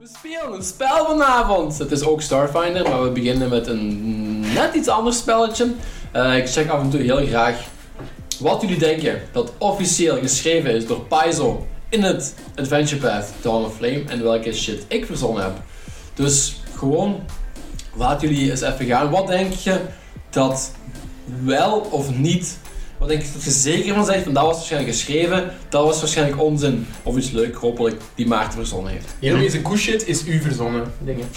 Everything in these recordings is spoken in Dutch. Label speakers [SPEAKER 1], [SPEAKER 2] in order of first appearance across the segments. [SPEAKER 1] We spelen een spel vanavond. Het is ook Starfinder, maar we beginnen met een net iets ander spelletje. Eh, ik check af en toe heel graag wat jullie denken dat officieel geschreven is door Paizo in het Adventure Path Dawn of Flame en welke shit ik verzonnen heb. Dus gewoon laat jullie eens even gaan. Wat denk je dat wel of niet? Wat denk je dat je zeker van zegt? Van dat was waarschijnlijk geschreven, dat was waarschijnlijk onzin. Of iets leuk, hopelijk, die Maarten verzonnen heeft.
[SPEAKER 2] Heel deze koeshit is u verzonnen. Dingen.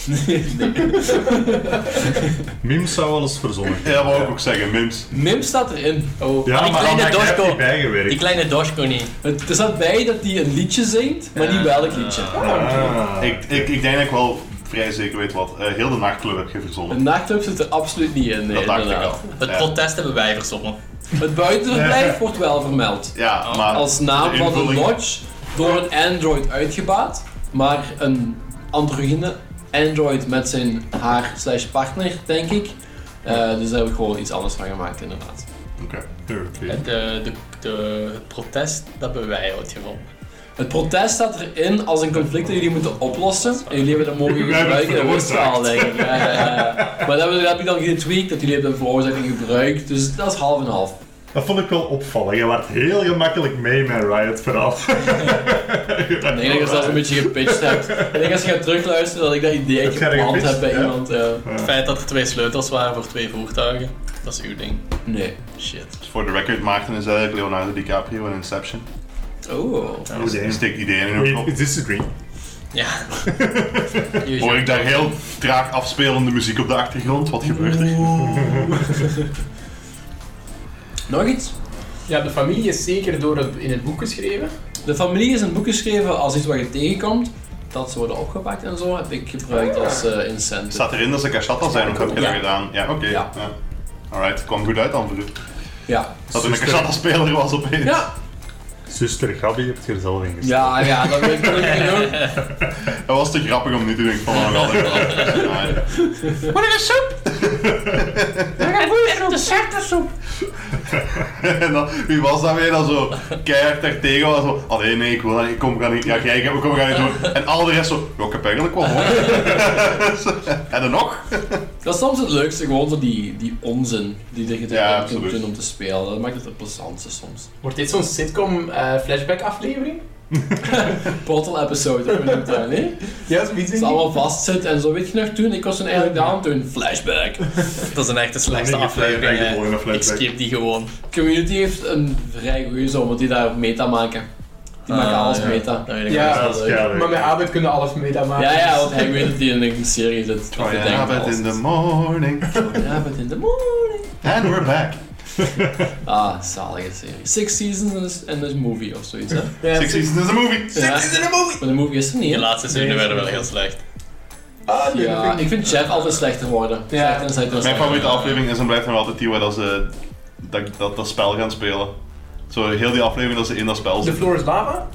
[SPEAKER 3] Mims zou alles verzonnen.
[SPEAKER 4] Ja, dat wou ik ook zeggen, Mims.
[SPEAKER 1] Mim staat erin.
[SPEAKER 2] Oh.
[SPEAKER 3] Ja,
[SPEAKER 5] die
[SPEAKER 3] maar dan
[SPEAKER 5] kleine
[SPEAKER 3] heb ik er
[SPEAKER 5] Dorco.
[SPEAKER 3] niet bijgewerkt.
[SPEAKER 5] Die kleine Doshko niet.
[SPEAKER 1] Het, er staat bij dat hij een liedje zingt, maar niet welk liedje.
[SPEAKER 3] Ah.
[SPEAKER 4] Ik, ik, ik denk dat ik wel vrij zeker weet wat. Eh, heel de nachtclub heb je
[SPEAKER 1] Een
[SPEAKER 4] verzonnen.
[SPEAKER 1] nachtclub zit er absoluut niet in. Nee,
[SPEAKER 4] dat dacht ik
[SPEAKER 1] inderdaad.
[SPEAKER 4] al.
[SPEAKER 5] Het
[SPEAKER 4] Ja.
[SPEAKER 5] protest hebben wij verzonnen.
[SPEAKER 1] Het buitenverblijf wordt wel vermeld.
[SPEAKER 4] Ja, maar
[SPEAKER 1] Als naam
[SPEAKER 4] de
[SPEAKER 1] van een
[SPEAKER 4] invulling-
[SPEAKER 1] lodge door een android uitgebaat, maar een androgyne android met zijn haar slash partner, denk ik. Eh, dus daar heb ik gewoon iets anders van gemaakt, inderdaad.
[SPEAKER 4] Oké.
[SPEAKER 3] Oké.
[SPEAKER 5] De, eh, de, de, het protest, dat hebben wij uitgevonden.
[SPEAKER 1] Het protest staat erin als een conflict dat jullie moeten oplossen. En jullie hebben dat mogen
[SPEAKER 4] Wij hebben het
[SPEAKER 1] gebruiken in het verhaal, denk
[SPEAKER 4] veroorzaakt.
[SPEAKER 1] ik. Ja, ja, ja. Maar dat heb ik- dat heb ik dan getweakt, dat jullie hebben dat veroorzaakt en gebruikt. Dus dat is half en half.
[SPEAKER 3] Dat vond ik wel opvallend. Je werd heel gemakkelijk mee met Riot verhaal.
[SPEAKER 1] Ik denk dat je zelfs een beetje gepitcht hebt. Ik denk als je gaat terugluisteren dat ik dat idee
[SPEAKER 3] Heb
[SPEAKER 1] echt
[SPEAKER 3] jij dat
[SPEAKER 1] geplant heb
[SPEAKER 3] gepitcht?
[SPEAKER 1] bij
[SPEAKER 3] Ja.
[SPEAKER 1] iemand. eh,
[SPEAKER 5] Het feit dat er twee sleutels waren voor twee voertuigen, dat is uw ding.
[SPEAKER 1] nee.
[SPEAKER 5] Shit.
[SPEAKER 4] Dus Voor de record, Maarten is eigenlijk Leonardo DiCaprio in Inception.
[SPEAKER 1] Oh.
[SPEAKER 3] Oh, damn.
[SPEAKER 4] Hij steekt ideeën in hun
[SPEAKER 3] It-
[SPEAKER 4] kop.
[SPEAKER 3] It is a dream.
[SPEAKER 5] Ja.
[SPEAKER 4] Hoor ik daar heel traag afspelende muziek op de achtergrond? Wat gebeurt er?
[SPEAKER 1] Nog iets?
[SPEAKER 2] Ja, de familie is zeker door het, in het boek geschreven.
[SPEAKER 1] De familie is een boek geschreven als iets wat je tegenkomt. Dat ze worden opgepakt en zo heb ik gebruikt als eh incentive.
[SPEAKER 4] Staat erin dat ze cachata zijn, of heb je dat
[SPEAKER 1] Ja.
[SPEAKER 4] gedaan? Ja, oké.
[SPEAKER 1] Ja.
[SPEAKER 4] ja. Alright, kwam goed uit dan voor u.
[SPEAKER 1] Ja.
[SPEAKER 4] Dat er een cachata-speler was opeens.
[SPEAKER 1] Ja,
[SPEAKER 3] Zuster Gabi, je hebt je er zelf in gezet.
[SPEAKER 1] ja, ja, dat weet ik gelukkig genoeg.
[SPEAKER 4] Dat was te grappig om niet te denken van, oh, wel, dat is En dan, wie was dat weer dat zo keihard daartegen was? Zo, Allee, nee, ik wil dat niet, ik kom, ga niet, ja, jij, ik kom, ga niet doen. En al de rest zo, ja, ik heb eigenlijk wel honger. en dan nog?
[SPEAKER 1] Dat is soms het leukste, gewoon zo die, die onzin die er
[SPEAKER 4] Ja,
[SPEAKER 1] gedragen kunt
[SPEAKER 4] absoluut.
[SPEAKER 1] doen om te spelen. Dat maakt het het plezantste soms.
[SPEAKER 2] Wordt dit zo'n sitcom eh, flashback aflevering?
[SPEAKER 1] Portal episode, of noemt dat, nee?
[SPEAKER 2] Ja, zoiets
[SPEAKER 1] Het allemaal vastzit en zo. Weet je nog toen? Ik was toen eigenlijk down toen. Flashback.
[SPEAKER 5] Dat is een echte slechtste
[SPEAKER 3] Nee, je
[SPEAKER 5] aflevering.
[SPEAKER 3] flashback,
[SPEAKER 5] hè.
[SPEAKER 3] gewoon een
[SPEAKER 5] eh, Ik
[SPEAKER 3] flashback.
[SPEAKER 5] skip die gewoon.
[SPEAKER 1] Community heeft een vrij goede zo, want die daar meta maken. Die maken
[SPEAKER 5] Ah,
[SPEAKER 1] alles
[SPEAKER 5] ja.
[SPEAKER 1] meta.
[SPEAKER 5] Dat weet ik
[SPEAKER 2] Ja.
[SPEAKER 5] wel.
[SPEAKER 3] Ja, dat is
[SPEAKER 1] leuk.
[SPEAKER 3] keileuk.
[SPEAKER 2] Maar met Abed kunnen alles mee dan maken.
[SPEAKER 1] Ja, ja, want hij weet dat hij in een serie zit. Dat hij denkt
[SPEAKER 4] Abed
[SPEAKER 1] alles
[SPEAKER 4] Oh, in
[SPEAKER 1] is.
[SPEAKER 4] the morning.
[SPEAKER 1] Ja, but in the morning.
[SPEAKER 4] And we're back.
[SPEAKER 1] Ah, zalige serie. Six seasons in this- in this movie of zoiets, hè?
[SPEAKER 2] Ja,
[SPEAKER 4] Six seasons is a movie.
[SPEAKER 1] Ja.
[SPEAKER 2] movie!
[SPEAKER 1] Maar de movie is er niet,
[SPEAKER 5] Die
[SPEAKER 1] hè?
[SPEAKER 5] laatste seizoenen werden wel heel slecht.
[SPEAKER 2] Ah, nee, dat
[SPEAKER 1] Ja,
[SPEAKER 2] vind
[SPEAKER 1] ik vind Jeff altijd slechter worden. Slechter en slechter en
[SPEAKER 4] Mijn
[SPEAKER 1] slechter.
[SPEAKER 4] favoriete aflevering is en blijft nog altijd die waar dat ze dat, dat, dat spel gaan spelen. Zo heel die aflevering dat ze in dat spel
[SPEAKER 2] De
[SPEAKER 4] zitten.
[SPEAKER 2] floor is lava?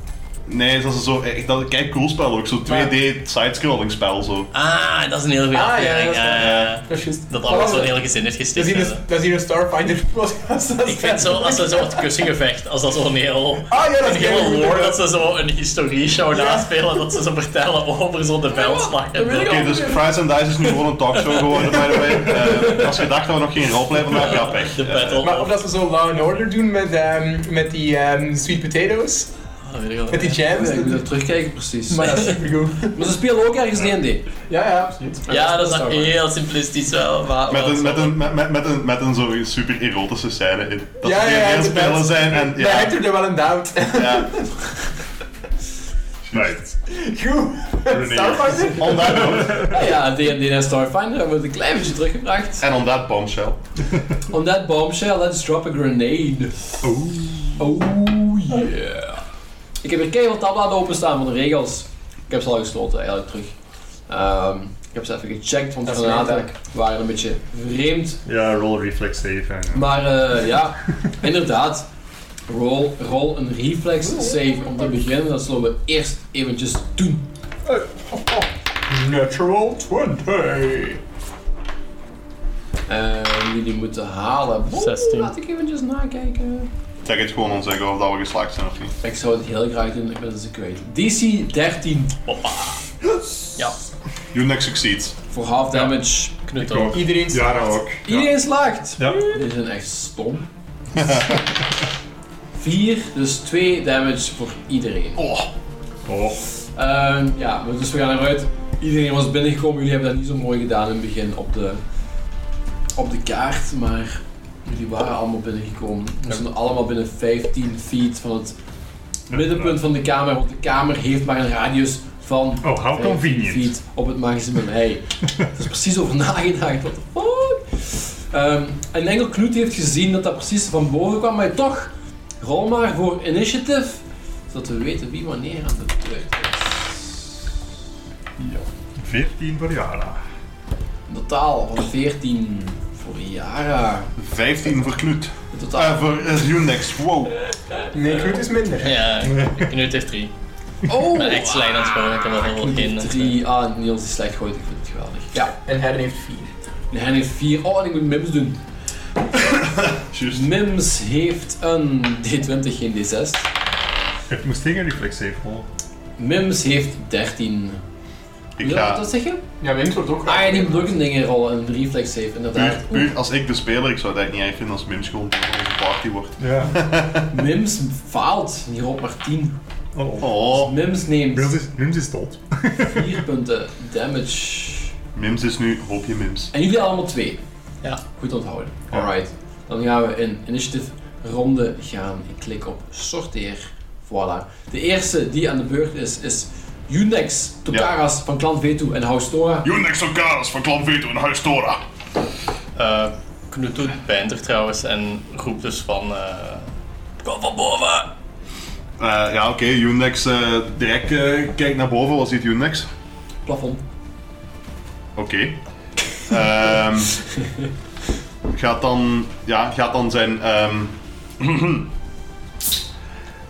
[SPEAKER 4] Nee, dat is zo, echt, dat, kijk cool spel ook, zo 2D sidescrolling spel zo.
[SPEAKER 5] Ah, dat is een hele goede
[SPEAKER 2] Ah, ja,
[SPEAKER 5] aflevering.
[SPEAKER 2] dat is wel-
[SPEAKER 5] Ja, ja, ja.
[SPEAKER 2] Dat is juist.
[SPEAKER 5] Dat allemaal
[SPEAKER 2] Oh,
[SPEAKER 5] zo'n hele gezin heeft
[SPEAKER 2] dat is
[SPEAKER 5] gestikt.
[SPEAKER 2] hier een- dat is hier een Starfinder podcast.
[SPEAKER 5] Ik vind zo, als ze zo het kussengevecht, als dat zo'n heel...
[SPEAKER 2] Ah ja, dat
[SPEAKER 5] Een
[SPEAKER 2] is heel
[SPEAKER 5] hele lore
[SPEAKER 2] goed.
[SPEAKER 5] dat ze zo een historie-show naspelen, dat ze zo vertellen over zo'n de veldslag.
[SPEAKER 1] dat weet ik
[SPEAKER 4] Oké, dus Fries and Dice is nu gewoon een talkshow geworden, by the way. Eh, als je dacht dat we nog geen roleplay vandaag, ja, pech.
[SPEAKER 5] De battle.
[SPEAKER 2] Maar of dat ze zo Law and Order doen met, ehm, met die ehm, sweet potatoes,
[SPEAKER 5] Dat weet ik wel.
[SPEAKER 2] met die jams.
[SPEAKER 1] Ja, Ik moet dat terugkijken, precies.
[SPEAKER 2] Maar
[SPEAKER 1] Maar
[SPEAKER 2] dat is supergoed.
[SPEAKER 1] ze spelen ook ergens D&D.
[SPEAKER 2] Ja, ja, absoluut.
[SPEAKER 5] Ja, dat is
[SPEAKER 1] Dat
[SPEAKER 5] nog
[SPEAKER 1] is wel
[SPEAKER 5] heel simplistisch wel. Maar,
[SPEAKER 4] Eh, met, een,
[SPEAKER 5] wel
[SPEAKER 4] met,
[SPEAKER 5] zo.
[SPEAKER 4] een, met, met, met een, met een zo super erotische scène in. Dat
[SPEAKER 2] Ja,
[SPEAKER 4] ze
[SPEAKER 2] ja, ja,
[SPEAKER 4] weer aan het
[SPEAKER 2] inderdaad.
[SPEAKER 4] spelen zijn en
[SPEAKER 2] Maar
[SPEAKER 4] ja,
[SPEAKER 2] hebt er wel een doubt.
[SPEAKER 4] ja.
[SPEAKER 3] Right.
[SPEAKER 2] Goed. Starfinder?
[SPEAKER 4] On that note.
[SPEAKER 1] Ah ja, D&D en Starfinder hebben we het een klein beetje teruggebracht.
[SPEAKER 4] En on that bombshell.
[SPEAKER 1] On that bombshell, let's drop a grenade. Oh yeah. Ik heb hier keihard tabbladen openstaan van de regels. Ik heb ze al gesloten, eigenlijk terug. Ehm, ik heb ze even gecheckt, want de
[SPEAKER 2] Dat is mijn
[SPEAKER 1] granaten
[SPEAKER 2] taak.
[SPEAKER 1] waren een beetje vreemd.
[SPEAKER 3] Ja, roll reflex save. En, ja.
[SPEAKER 1] Maar eh, ja, inderdaad. Roll, roll een reflex save om te beginnen. Dat zullen we eerst eventjes doen.
[SPEAKER 3] eh.
[SPEAKER 2] Natural 20.
[SPEAKER 1] En Ehm, jullie moeten halen. Oeh,
[SPEAKER 5] 16.
[SPEAKER 1] Laat ik eventjes nakijken.
[SPEAKER 4] Zeg het gewoon ons zeggen of dat we geslaagd zijn of niet.
[SPEAKER 1] dus Ik zou het heel graag doen, ik ben ze kwijt. DC 13.
[SPEAKER 5] Hoppa. Ja,
[SPEAKER 4] Unix succeeds.
[SPEAKER 1] Voor half damage.
[SPEAKER 5] knutel.
[SPEAKER 2] Iedereen
[SPEAKER 3] Ja,
[SPEAKER 2] slaagt.
[SPEAKER 3] dat ook. Ja.
[SPEAKER 1] Iedereen slaagt.
[SPEAKER 3] Ja.
[SPEAKER 1] Die zijn echt stom. 4, dus 2 damage voor iedereen.
[SPEAKER 4] Oh,
[SPEAKER 3] Oh,
[SPEAKER 1] Ehm, ja, maar dus we gaan eruit. Iedereen was binnengekomen. Jullie hebben dat niet zo mooi gedaan in het begin op de, op de kaart, maar jullie waren allemaal binnengekomen. We stonden allemaal binnen 15 feet van het middenpunt van de kamer, want de kamer heeft maar een radius van
[SPEAKER 3] oh how
[SPEAKER 1] 15
[SPEAKER 3] convenient.
[SPEAKER 1] feet op het maximum. Hey, er is precies over nagedacht. What the fuck? Ehm, en enkel Knut heeft gezien dat dat precies van boven kwam, maar toch, rol maar voor initiative, zodat we weten wie wanneer aan de beurt is.
[SPEAKER 3] 14 voor Jara.
[SPEAKER 1] Een totaal van 14 voor Jara.
[SPEAKER 4] 15 voor Knut.
[SPEAKER 1] Een totaal.
[SPEAKER 4] Eh, voor eh, Unix, wow.
[SPEAKER 2] Nee, Knut is minder.
[SPEAKER 5] Ja, Knut heeft drie.
[SPEAKER 4] Eh,
[SPEAKER 5] Ik
[SPEAKER 1] oh!
[SPEAKER 5] ben echt slecht aan het spelen, ik heb er heel veel in.
[SPEAKER 1] 3. Ah, Niels die slecht gooit, ik vind het geweldig. Ja,
[SPEAKER 2] En Herren heeft vier.
[SPEAKER 1] en hij heeft 4. Oh, en ik moet Mims doen.
[SPEAKER 4] Juist.
[SPEAKER 1] Mims heeft een D20, geen D6.
[SPEAKER 3] Ik moest tegen reflex save rollen.
[SPEAKER 1] Mims heeft 13.
[SPEAKER 4] Ik
[SPEAKER 1] Wil je
[SPEAKER 4] ga
[SPEAKER 1] dat zeggen?
[SPEAKER 2] Ja, Wims wordt ook
[SPEAKER 1] Ah ja, die blokken dingen rollen en een reflex heeft,
[SPEAKER 4] puur,
[SPEAKER 1] inderdaad.
[SPEAKER 4] puur als ik de speler, ik zou het eigenlijk niet erg vinden als Mims gewoon deel van onze party wordt.
[SPEAKER 3] Ja.
[SPEAKER 1] Oeh, Mims faalt, die rolt maar 10.
[SPEAKER 3] Oh, oh.
[SPEAKER 4] Oh,
[SPEAKER 1] Mims neemt
[SPEAKER 3] Mims is, Mims is dood.
[SPEAKER 1] 4 punten damage.
[SPEAKER 4] Mims is nu hoopje Mims.
[SPEAKER 1] En jullie allemaal 2.
[SPEAKER 5] Ja.
[SPEAKER 1] Goed onthouden.
[SPEAKER 3] Ja.
[SPEAKER 1] Alright. Dan gaan we in initiative ronde gaan. Ik klik op sorteer. Voilà. De eerste die aan de beurt is, is Unex Tokaras van Klant Vetu en Haustora.
[SPEAKER 4] Unix op Karas van Klan Veto en Huis Tora.
[SPEAKER 5] Eh, Knut doet bijnder trouwens en roept dus van... eh, Kom van boven!
[SPEAKER 4] Eh, ja, oké, Unix eh, direct eh, kijkt naar boven. Wat ziet Unix?
[SPEAKER 1] Plafond.
[SPEAKER 4] Oké. Ehm, gaat, dan, ja, gaat dan zijn ehm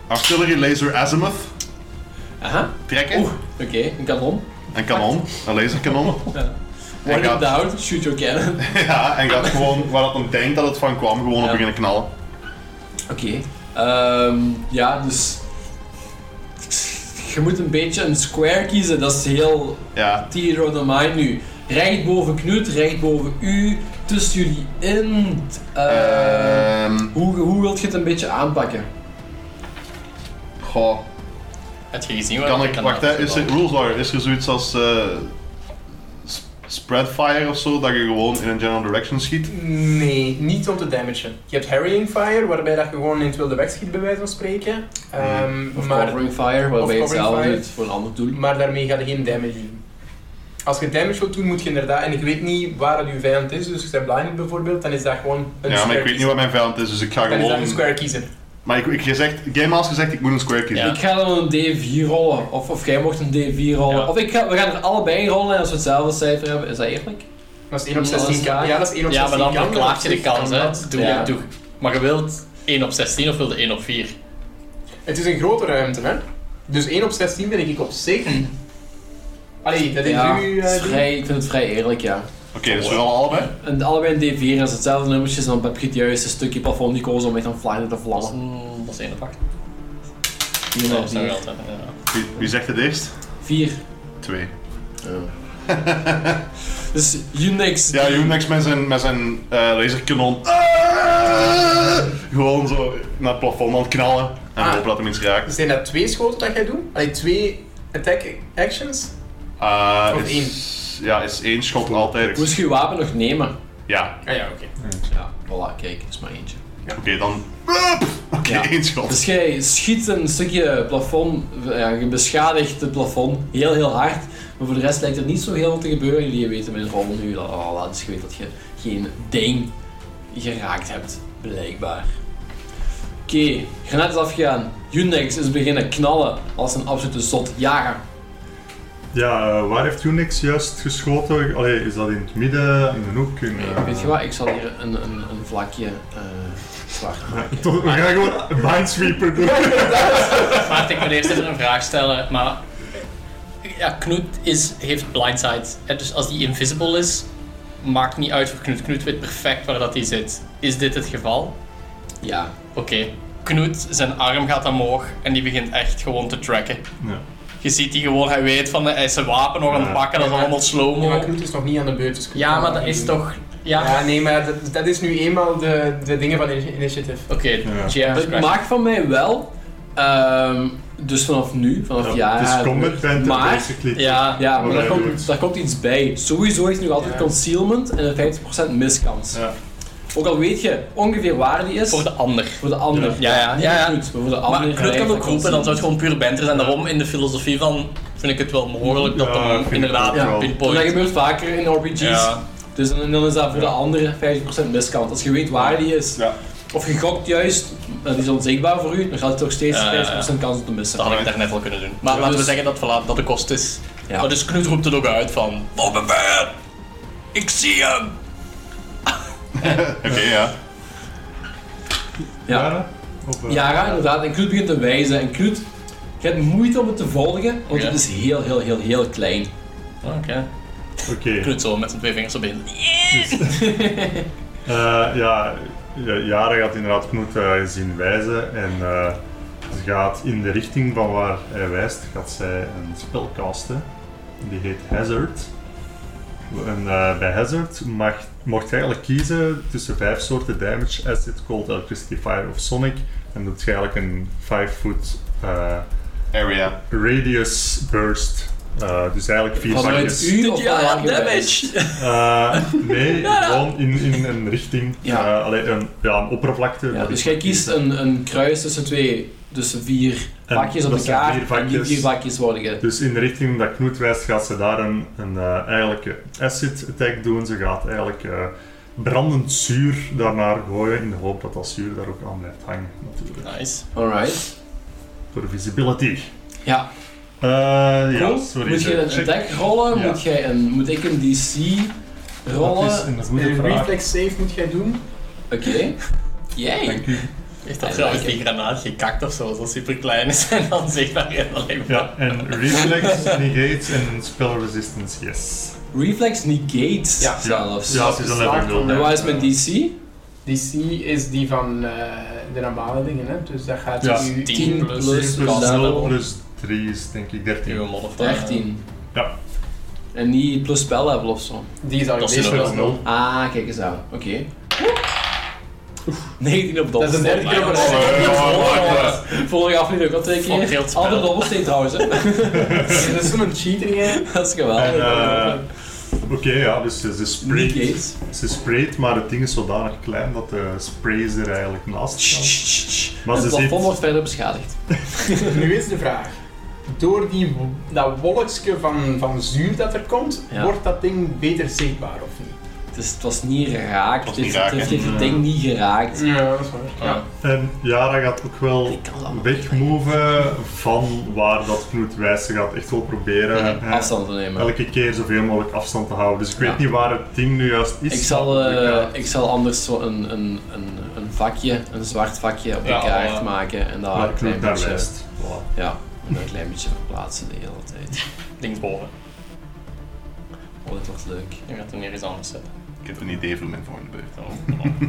[SPEAKER 4] artillery laser azimuth
[SPEAKER 1] Aha.
[SPEAKER 4] trekken.
[SPEAKER 1] Oeh, oké, een kanon.
[SPEAKER 4] Een kanon, een laserkanon.
[SPEAKER 1] Word
[SPEAKER 4] gaat-
[SPEAKER 1] it down, shoot your cannon. oké,
[SPEAKER 4] ja, en gaat gewoon waar het dan denkt dat het van kwam, gewoon
[SPEAKER 1] Ja.
[SPEAKER 4] op beginnen knallen.
[SPEAKER 1] ehm, ja, dus. Je moet een beetje een square kiezen, dat is heel
[SPEAKER 4] Ja,
[SPEAKER 1] Theodore de Mine nu. Recht boven Knut, recht boven u, tussen jullie in. Eh,
[SPEAKER 4] Ehm
[SPEAKER 1] hoe, hoe wilt je het een beetje aanpakken?
[SPEAKER 4] goh,
[SPEAKER 5] Heb je gezien waar
[SPEAKER 4] kan
[SPEAKER 5] dat
[SPEAKER 4] ik,
[SPEAKER 5] kanaal
[SPEAKER 4] wacht hè, is er,
[SPEAKER 5] zit?
[SPEAKER 4] rules lawyer, is er zoiets als eh, s- spreadfire of zo, dat je gewoon in een general direction schiet?
[SPEAKER 2] Nee, niet om te damagen. Je hebt Harrying Fire, waarbij dat je gewoon in het wilde wegschiet, bij wijze van spreken. Ehm,
[SPEAKER 1] Mm. Of
[SPEAKER 2] maar,
[SPEAKER 1] covering fire, waarbij je
[SPEAKER 2] covering
[SPEAKER 1] hetzelfde
[SPEAKER 2] fire.
[SPEAKER 1] doet voor een ander doel.
[SPEAKER 2] maar daarmee ga je geen damage doen. Als je damage wilt doen, moet je inderdaad... En ik weet niet waar het je vijand is, dus je bent blinded bijvoorbeeld, dan is dat gewoon een
[SPEAKER 4] Ja, maar
[SPEAKER 2] square
[SPEAKER 4] ik weet niet
[SPEAKER 2] kiezen.
[SPEAKER 4] wat mijn vijand is, dus ik ga
[SPEAKER 2] Dan is dat een
[SPEAKER 4] gewoon...
[SPEAKER 2] square kiezen.
[SPEAKER 4] Maar ik, ik gezegd, Game Master zegt ik moet een square kiezen.
[SPEAKER 5] Ja.
[SPEAKER 1] Ik ga dan een D4 rollen, of, of jij mocht een D4 rollen.
[SPEAKER 5] Ja.
[SPEAKER 1] Of ik ga, we gaan er allebei rollen en als we hetzelfde cijfer hebben, is dat eerlijk?
[SPEAKER 2] Dat is 1 op
[SPEAKER 1] Ja, dat is
[SPEAKER 2] 16 kan.
[SPEAKER 1] waar.
[SPEAKER 2] Ja, dat is 1 op
[SPEAKER 5] Ja,
[SPEAKER 2] 16
[SPEAKER 5] maar dan
[SPEAKER 2] kan,
[SPEAKER 5] verklaart
[SPEAKER 2] op
[SPEAKER 5] je de
[SPEAKER 2] zich
[SPEAKER 5] kans,
[SPEAKER 2] kan
[SPEAKER 5] hè.
[SPEAKER 2] dat.
[SPEAKER 5] Doe,
[SPEAKER 1] Ja.
[SPEAKER 5] doe. Maar je wilt 1 op 16 of wilde 1 op 4?
[SPEAKER 2] Het is een grote ruimte, hè. Dus 1 op 16 ben ik op zich. Allee, dat is
[SPEAKER 1] ja,
[SPEAKER 2] nu...
[SPEAKER 1] het is
[SPEAKER 2] eh,
[SPEAKER 1] vrij, ik vind het vrij eerlijk, ja.
[SPEAKER 4] Oké, dus we rollen allebei.
[SPEAKER 1] En allebei een D4 en als hetzelfde nummertje, dus dan heb je het juiste stukje plafond gekozen om echt aan flying te
[SPEAKER 5] Dat is
[SPEAKER 1] vlammen.
[SPEAKER 5] een- dat is 1 op 8.
[SPEAKER 1] Hier
[SPEAKER 5] Nee,
[SPEAKER 1] nog
[SPEAKER 5] dat is nog
[SPEAKER 1] hier.
[SPEAKER 5] altijd, ja.
[SPEAKER 4] Wie, wie zegt het eerst?
[SPEAKER 1] Vier.
[SPEAKER 4] Twee.
[SPEAKER 1] Dus Unix.
[SPEAKER 4] Ja, Unix met zijn, met zijn eh, laserkanon. Ah! Gewoon zo naar het plafond aan het knallen. En
[SPEAKER 2] Ah.
[SPEAKER 4] hopen dat hem iets raakt.
[SPEAKER 2] Zijn dat twee schoten dat jij doet? Allee, twee attack actions?
[SPEAKER 4] Eh,
[SPEAKER 2] Of
[SPEAKER 4] is, Ja, is één schot altijd.
[SPEAKER 1] Moest je je wapen nog nemen?
[SPEAKER 4] Ja,
[SPEAKER 2] Ah ja, oké.
[SPEAKER 1] Ja, voilà, kijk, er is maar eentje.
[SPEAKER 4] oké, dan. Ah, pff. Oké,
[SPEAKER 1] Ja.
[SPEAKER 4] één schot.
[SPEAKER 1] Dus jij schiet een stukje plafond, eh, ja, je beschadigt het plafond heel heel hard, maar voor de rest lijkt er niet zo heel veel te gebeuren. Jullie weten met een rol nu, la, la, la, dus je weet dat je geen ding geraakt hebt, blijkbaar. Oké, granaat is afgegaan. Unix is beginnen knallen als een absolute zot jager.
[SPEAKER 3] Ja, eh, waar heeft Unix juist geschoten? Allee, is dat in het midden, in een hoek? In, eh,
[SPEAKER 1] Weet je wat, ik zal hier een, een, een vlakje eh, zwart maken.
[SPEAKER 3] Toch, eh, we gaan gewoon een Minesweeper doen.
[SPEAKER 5] Maar ik wil eerst even een vraag stellen. Maar ja, Knut is, heeft blindsight. Hè, Dus als die invisible is, maakt niet uit voor Knut. Knut weet perfect waar dat hij zit. Is dit het geval?
[SPEAKER 1] Ja,
[SPEAKER 5] Oké. Knut, zijn arm gaat omhoog en die begint echt gewoon te tracken.
[SPEAKER 3] Ja.
[SPEAKER 5] Je ziet die gewoon, hij weet van, hij is zijn wapen nog aan het pakken, dat is allemaal
[SPEAKER 2] Ja, maar
[SPEAKER 5] slow-mo.
[SPEAKER 2] Knut is nog niet aan de beurt. dus Knut
[SPEAKER 5] Ja,
[SPEAKER 2] kan
[SPEAKER 5] maar
[SPEAKER 2] dat
[SPEAKER 5] dat
[SPEAKER 2] niet
[SPEAKER 5] is
[SPEAKER 2] doen.
[SPEAKER 5] toch...
[SPEAKER 2] Ja,
[SPEAKER 5] Ja,
[SPEAKER 2] nee, maar dat, dat is nu eenmaal de, de dingen van initi- initiative.
[SPEAKER 5] oké.
[SPEAKER 3] Ja.
[SPEAKER 5] Jesus
[SPEAKER 1] Het
[SPEAKER 5] Christ.
[SPEAKER 1] maakt van mij wel, ehm, dus vanaf nu, vanaf
[SPEAKER 3] Ja,
[SPEAKER 1] ja,
[SPEAKER 3] het is combat bandit
[SPEAKER 1] maar-
[SPEAKER 3] basically.
[SPEAKER 5] Ja,
[SPEAKER 1] Ja, maar
[SPEAKER 3] Wat
[SPEAKER 1] daar
[SPEAKER 3] hij
[SPEAKER 1] komt,
[SPEAKER 3] doet.
[SPEAKER 1] daar komt iets bij. Sowieso is nu altijd
[SPEAKER 2] Ja.
[SPEAKER 1] concealment en een 50% miskans.
[SPEAKER 3] Ja.
[SPEAKER 1] Ook al weet je ongeveer waar die is,
[SPEAKER 5] voor de ander.
[SPEAKER 1] voor de ander.
[SPEAKER 5] Ja, ja,
[SPEAKER 1] Niet
[SPEAKER 5] ja, ja.
[SPEAKER 1] voor Knut, maar voor de
[SPEAKER 5] Maar
[SPEAKER 1] ander.
[SPEAKER 5] Knut kan
[SPEAKER 1] lijkt
[SPEAKER 5] ook
[SPEAKER 1] dat
[SPEAKER 5] roepen, dan zou
[SPEAKER 1] concealment.
[SPEAKER 5] het gewoon puur banter zijn. Daarom in de filosofie van, vind ik het wel mogelijk dat
[SPEAKER 3] Ja,
[SPEAKER 5] dan
[SPEAKER 3] vind ik
[SPEAKER 5] inderdaad
[SPEAKER 3] ook wel.
[SPEAKER 1] En dat
[SPEAKER 5] pinpoint...
[SPEAKER 1] gebeurt vaker in RPG's.
[SPEAKER 5] Ja.
[SPEAKER 1] Dus dan, dan is dat voor de andere 50% miskant. Als je weet waar die is,
[SPEAKER 4] Ja.
[SPEAKER 1] of je gokt juist, eh, die is onzichtbaar voor u, dan gaat het toch steeds
[SPEAKER 5] Ja, ja, ja.
[SPEAKER 1] 50% kans om te missen.
[SPEAKER 5] Dat had ik daarnet al kunnen doen. Maar
[SPEAKER 1] Ja,
[SPEAKER 5] laten we
[SPEAKER 1] dus-
[SPEAKER 5] zeggen dat, voilà, dat de kost is.
[SPEAKER 1] Ja.
[SPEAKER 5] Maar dus Knut roept het ook uit van... Bob Bear! Ik zie hem!
[SPEAKER 4] Oké, ja.
[SPEAKER 1] Ja.
[SPEAKER 3] Jaren? Of, eh,
[SPEAKER 1] Yara, inderdaad. En Knut begint te wijzen. En Knut, je hebt moeite om het te volgen, want
[SPEAKER 5] Ja.
[SPEAKER 1] het is heel, heel, heel, heel klein.
[SPEAKER 5] Oké.
[SPEAKER 3] Oké.
[SPEAKER 5] Knut zo met zijn twee vingers op in.
[SPEAKER 3] Eh, ja, ja, Jaren gaat inderdaad Knut eh, zien wijzen en eh, ze gaat in de richting van waar hij wijst, gaat zij een spel casten. Die heet Hazard. En eh, bij Hazard mag, mocht je eigenlijk kiezen tussen vijf soorten damage, acid, cold, electricity, fire of sonic. En doet je eigenlijk een 5 foot eh,
[SPEAKER 4] Area.
[SPEAKER 3] radius burst. Eh, dus eigenlijk vier
[SPEAKER 1] Vanuit
[SPEAKER 3] vakjes.
[SPEAKER 1] u of
[SPEAKER 5] Ja,
[SPEAKER 1] vanuit je wijs?
[SPEAKER 5] damage!
[SPEAKER 3] Eh, nee, gewoon in, in een richting.
[SPEAKER 1] Ja.
[SPEAKER 3] Eh, alleen een, ja, een oppervlakte.
[SPEAKER 1] Ja,
[SPEAKER 3] Dat
[SPEAKER 1] dus
[SPEAKER 3] is
[SPEAKER 1] jij
[SPEAKER 3] wat
[SPEAKER 1] kiest
[SPEAKER 3] kiezen.
[SPEAKER 1] een, een kruis tussen twee, tussen vier
[SPEAKER 3] En
[SPEAKER 1] vakjes op
[SPEAKER 3] dat zijn
[SPEAKER 1] elkaar.
[SPEAKER 3] vier
[SPEAKER 1] En die
[SPEAKER 3] vakjes.
[SPEAKER 1] vier vakjes worden ge...
[SPEAKER 3] Dus in de richting dat Knoet wijst, gaat ze daar een, een eh, eigenlijk een acid attack doen. Ze gaat eigenlijk eh, brandend zuur daarnaar gooien, in de hoop dat dat zuur daar ook aan blijft hangen. Natuurlijk.
[SPEAKER 5] Nice.
[SPEAKER 1] Alright.
[SPEAKER 3] Voor visibility.
[SPEAKER 1] Ja,
[SPEAKER 3] Eh, ja,
[SPEAKER 1] cool.
[SPEAKER 3] sorry.
[SPEAKER 1] moet je
[SPEAKER 3] sir.
[SPEAKER 1] een
[SPEAKER 3] Check.
[SPEAKER 1] attack rollen?
[SPEAKER 3] Ja.
[SPEAKER 1] Moet, jij een, moet ik een DC rollen?
[SPEAKER 3] Dat is een goede
[SPEAKER 2] Een
[SPEAKER 3] vraag.
[SPEAKER 2] reflex save moet jij doen.
[SPEAKER 1] Oké. Jij.
[SPEAKER 3] Dank u.
[SPEAKER 5] Heeft dat
[SPEAKER 1] Ja,
[SPEAKER 5] trouwens
[SPEAKER 1] lekker.
[SPEAKER 5] die granaat gekakt of zo, als dat super klein is en dan zichtbaar is alleen maar.
[SPEAKER 3] Ja, en reflex, negates en spell resistance, yes.
[SPEAKER 1] Reflex negates
[SPEAKER 2] Ja.
[SPEAKER 1] zelfs.
[SPEAKER 3] Ja, het is een level nul,
[SPEAKER 1] En
[SPEAKER 3] hè.
[SPEAKER 1] wat is mijn DC?
[SPEAKER 2] DC is die van eh, de normale dingen, hè. Dus dat gaat
[SPEAKER 3] Ja.
[SPEAKER 2] u
[SPEAKER 5] 10
[SPEAKER 2] 10
[SPEAKER 1] plus
[SPEAKER 5] plus
[SPEAKER 3] 10 plus
[SPEAKER 1] plus
[SPEAKER 3] 0
[SPEAKER 1] level.
[SPEAKER 3] plus 3 is denk ik 13.
[SPEAKER 5] Nieuwe modifier.
[SPEAKER 1] 13.
[SPEAKER 3] Ja.
[SPEAKER 1] En niet plus spellevel of zo.
[SPEAKER 2] Die is al
[SPEAKER 5] Dat is een
[SPEAKER 2] geweest.
[SPEAKER 5] level nul.
[SPEAKER 1] Ah, kijk eens aan. Oké. Oef, 19 op
[SPEAKER 2] Dat is een
[SPEAKER 1] dobbelsteen.
[SPEAKER 2] derde keer op een
[SPEAKER 5] Oh,
[SPEAKER 2] rij.
[SPEAKER 5] ja.
[SPEAKER 1] Vorige aflevering ook al twee
[SPEAKER 5] Fuck, heel
[SPEAKER 1] keer.
[SPEAKER 5] spel.
[SPEAKER 1] Alle dobbelsteen trouwens. hè.
[SPEAKER 2] Dat is zo'n cheating, hè.
[SPEAKER 1] Dat is
[SPEAKER 3] En,
[SPEAKER 1] geweldig.
[SPEAKER 3] eh, Oké, ja, dus ze, ze sprayt,
[SPEAKER 1] Negates.
[SPEAKER 3] ze sprayt, maar het ding is zodanig klein dat de sprays er eigenlijk naast staan. Maar
[SPEAKER 1] Het
[SPEAKER 3] ze
[SPEAKER 1] plafond
[SPEAKER 3] ziet...
[SPEAKER 1] wordt verder beschadigd.
[SPEAKER 2] Nu is de vraag. Door die, w- dat wolkje van, van zuur dat er komt,
[SPEAKER 1] Ja.
[SPEAKER 2] wordt dat ding beter zichtbaar of niet?
[SPEAKER 1] Het, is, het was niet geraakt.
[SPEAKER 4] Het was
[SPEAKER 1] Het
[SPEAKER 4] niet
[SPEAKER 1] heeft-
[SPEAKER 4] raak,
[SPEAKER 1] het
[SPEAKER 4] hè?
[SPEAKER 1] heeft het ding niet geraakt.
[SPEAKER 2] Ja, dat is waar.
[SPEAKER 5] Ja.
[SPEAKER 3] En Yara gaat ook wel
[SPEAKER 1] Ik kan het allemaal
[SPEAKER 3] wegmoven van waar dat Knut wijst. Ze gaat echt wel proberen
[SPEAKER 5] Mhm,
[SPEAKER 3] hè,
[SPEAKER 1] Afstand te nemen.
[SPEAKER 3] elke keer zoveel mogelijk afstand te houden. Dus ik weet
[SPEAKER 1] Ja.
[SPEAKER 3] niet waar het ding nu juist is.
[SPEAKER 1] Ik zal,
[SPEAKER 3] maar-
[SPEAKER 1] eh,
[SPEAKER 3] Ja.
[SPEAKER 1] ik zal anders zo een, een, een, een vakje, een zwart vakje op de
[SPEAKER 5] Ja,
[SPEAKER 1] kaart
[SPEAKER 5] voilà.
[SPEAKER 1] maken en daar
[SPEAKER 3] Maar
[SPEAKER 1] een
[SPEAKER 3] Knut
[SPEAKER 1] klein
[SPEAKER 3] daar
[SPEAKER 1] beetje,
[SPEAKER 3] wijst. Voilà.
[SPEAKER 1] ja, en daar een klein beetje verplaatsen de hele tijd.
[SPEAKER 5] Ding boven.
[SPEAKER 1] Oh, dit wordt leuk.
[SPEAKER 5] Je gaat hem neer eens anders zetten.
[SPEAKER 4] Ik heb een idee voor mijn volgende beurt.
[SPEAKER 5] Zo,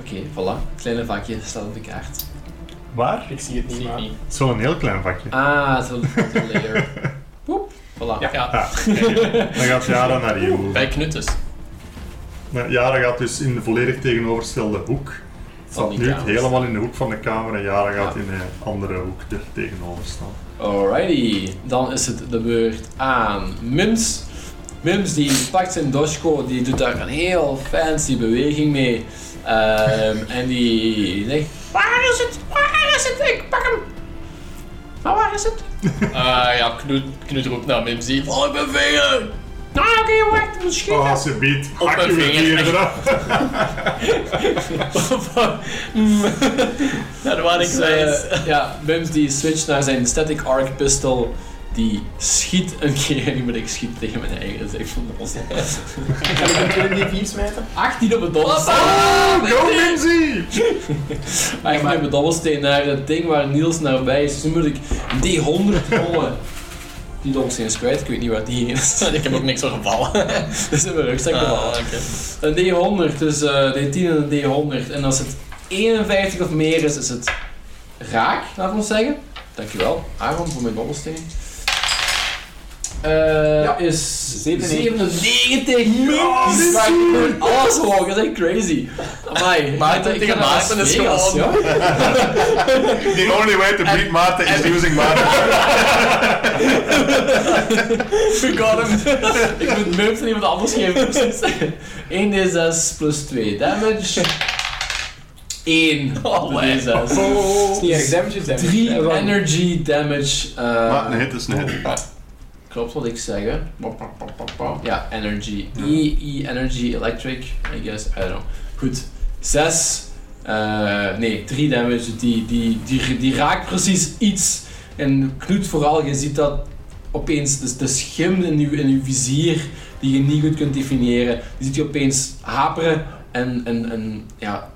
[SPEAKER 5] voilà.
[SPEAKER 1] Oké, voilà. Kleine vakje staat op de kaart.
[SPEAKER 3] Waar?
[SPEAKER 2] Ik zie het
[SPEAKER 5] Zie
[SPEAKER 2] niet,
[SPEAKER 5] ik
[SPEAKER 2] maar...
[SPEAKER 5] niet.
[SPEAKER 3] Zo'n heel klein vakje.
[SPEAKER 1] Ah, het is wel- het is wel layer. Poep. Voilà.
[SPEAKER 5] Ja.
[SPEAKER 3] Ah, Dan gaat Jara naar jou.
[SPEAKER 5] Bij Knut dus.
[SPEAKER 3] Maar Jara gaat dus in de volledig tegenovergestelde hoek. Staat
[SPEAKER 1] die
[SPEAKER 3] nu
[SPEAKER 1] kamer.
[SPEAKER 3] helemaal in de hoek van de kamer en Jara gaat
[SPEAKER 1] Ja.
[SPEAKER 3] in een andere hoek er tegenover staan.
[SPEAKER 1] Alrighty. Dan is het de beurt aan Mims. Mims die pakt zijn doshko, die doet daar een heel fancy beweging mee. Ehm, en die zegt... Waar is het? Waar is het? Ik pak hem! Maar waar is het?
[SPEAKER 5] Ah ja, Knut, Knut roept naar Mimsy. Val ik mijn vinger!
[SPEAKER 1] Nou, oké, wacht. Ik moet schieten.
[SPEAKER 3] Oh, ze biedt. Hak
[SPEAKER 5] mijn
[SPEAKER 3] je
[SPEAKER 5] vinger.
[SPEAKER 3] vinger eraf.
[SPEAKER 1] Ah,
[SPEAKER 5] ja, dat waren ik
[SPEAKER 1] Dus,
[SPEAKER 5] zei.
[SPEAKER 1] eh, ja, Mims die switcht naar zijn static arc pistol. Die schiet een keer. En die moet ik schieten tegen mijn eigen. Dat is echt van ons.
[SPEAKER 2] Kan ik hem tegen die vier smijten?
[SPEAKER 1] 18 op het dobbelsteen.
[SPEAKER 3] Ah,
[SPEAKER 1] Ah,
[SPEAKER 3] Go Minzy!
[SPEAKER 1] 18 op het dobbelsteen naar het ding waar Niels naar bij is. Dus nu moet ik die 100 rollen. Die dobbelsteen is kwijt. Ik weet niet waar die heen is.
[SPEAKER 5] Ik heb ook niks van gevallen.
[SPEAKER 1] Dat is in mijn rugzak
[SPEAKER 5] Ah,
[SPEAKER 1] gevallen.
[SPEAKER 5] oké.
[SPEAKER 1] Een D100, dus eh, D10 en een D100. En als het 51 of meer is, is het raak, laten we ons zeggen. Dankjewel, Aaron, voor mijn dobbelsteen. Eh
[SPEAKER 2] Ja.
[SPEAKER 1] Is
[SPEAKER 2] 97.
[SPEAKER 1] 97! Ja, die slaat gewoon alles omhoog, Oh, dat is echt crazy. Amai,
[SPEAKER 5] Maarten tegen Maarten is
[SPEAKER 1] Vegas,
[SPEAKER 5] gewoon-
[SPEAKER 1] joh.
[SPEAKER 4] The only way to beat Maarten is using Maarten.
[SPEAKER 1] Forgot him. Ik moet mumps aan iemand anders geven, precies. 1d6 plus 2 damage. 1
[SPEAKER 5] Oh,
[SPEAKER 1] de d6.
[SPEAKER 2] Het is niet erg damage, is damage.
[SPEAKER 1] 3
[SPEAKER 2] Ja, dan-
[SPEAKER 1] energy damage. eh,
[SPEAKER 4] Maar een hit is een hit.
[SPEAKER 1] Klopt wat ik zeg, hè? Pop, pop, pop, pop, pop. Ja, energy. E, E, energy, electric, I guess, I don't know. Goed, 6. nee, 3 damage, die, die, die, die raakt precies iets. En Knut vooral, je ziet dat opeens de, de schim in je, in uw vizier, die je niet goed kunt definiëren, die ziet je opeens haperen en, en, en ja,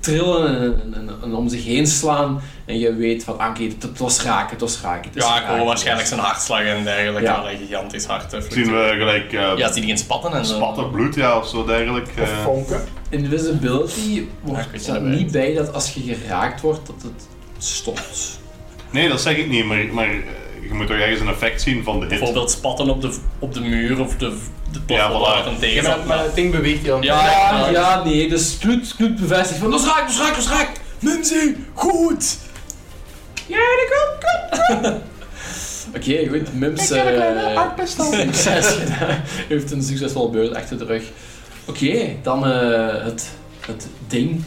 [SPEAKER 1] trillen en, en, en, en om zich heen slaan. En je weet van, ah, oké, het, het was raken, het was raken. het is
[SPEAKER 5] Ja, ik
[SPEAKER 1] raken,
[SPEAKER 5] hoor
[SPEAKER 1] het
[SPEAKER 5] waarschijnlijk
[SPEAKER 1] was-
[SPEAKER 5] zijn hartslag en dergelijke.
[SPEAKER 1] Ja.
[SPEAKER 5] Ja, een gigantisch hart. hè,
[SPEAKER 4] Zien we gelijk eh,
[SPEAKER 5] Ja, zie die in spatten en zo.
[SPEAKER 4] spatten bloed, ja, of zo dergelijk. eh.
[SPEAKER 2] Of vonken.
[SPEAKER 1] Invisibility
[SPEAKER 5] Ja, Ah, ik
[SPEAKER 1] wordt
[SPEAKER 5] weet
[SPEAKER 1] staat
[SPEAKER 5] niet erbij.
[SPEAKER 1] niet bij dat als je geraakt wordt dat het stopt.
[SPEAKER 4] nee, dat zeg ik niet, maar, maar eh, je moet toch ergens een effect zien van de hit.
[SPEAKER 5] Bijvoorbeeld spatten op de, op de muur of de, de plafond
[SPEAKER 4] voilà.
[SPEAKER 5] waar het aan tegen
[SPEAKER 2] Ja, maar,
[SPEAKER 5] zat.
[SPEAKER 2] maar het ding beweegt heel
[SPEAKER 5] Ja,
[SPEAKER 1] Ja,
[SPEAKER 5] ja, ja.
[SPEAKER 1] ja, nee, dus Knut, Knut bevestigt van "Nou, dat is raak, dat is raak, dat is raak. Mimsy, goed. Ja, dat komt, komt. Oké, goed, Mims eh, succes gedaan. heeft een succesvolle beurt achter de rug. Oké, dan eh, het, het ding.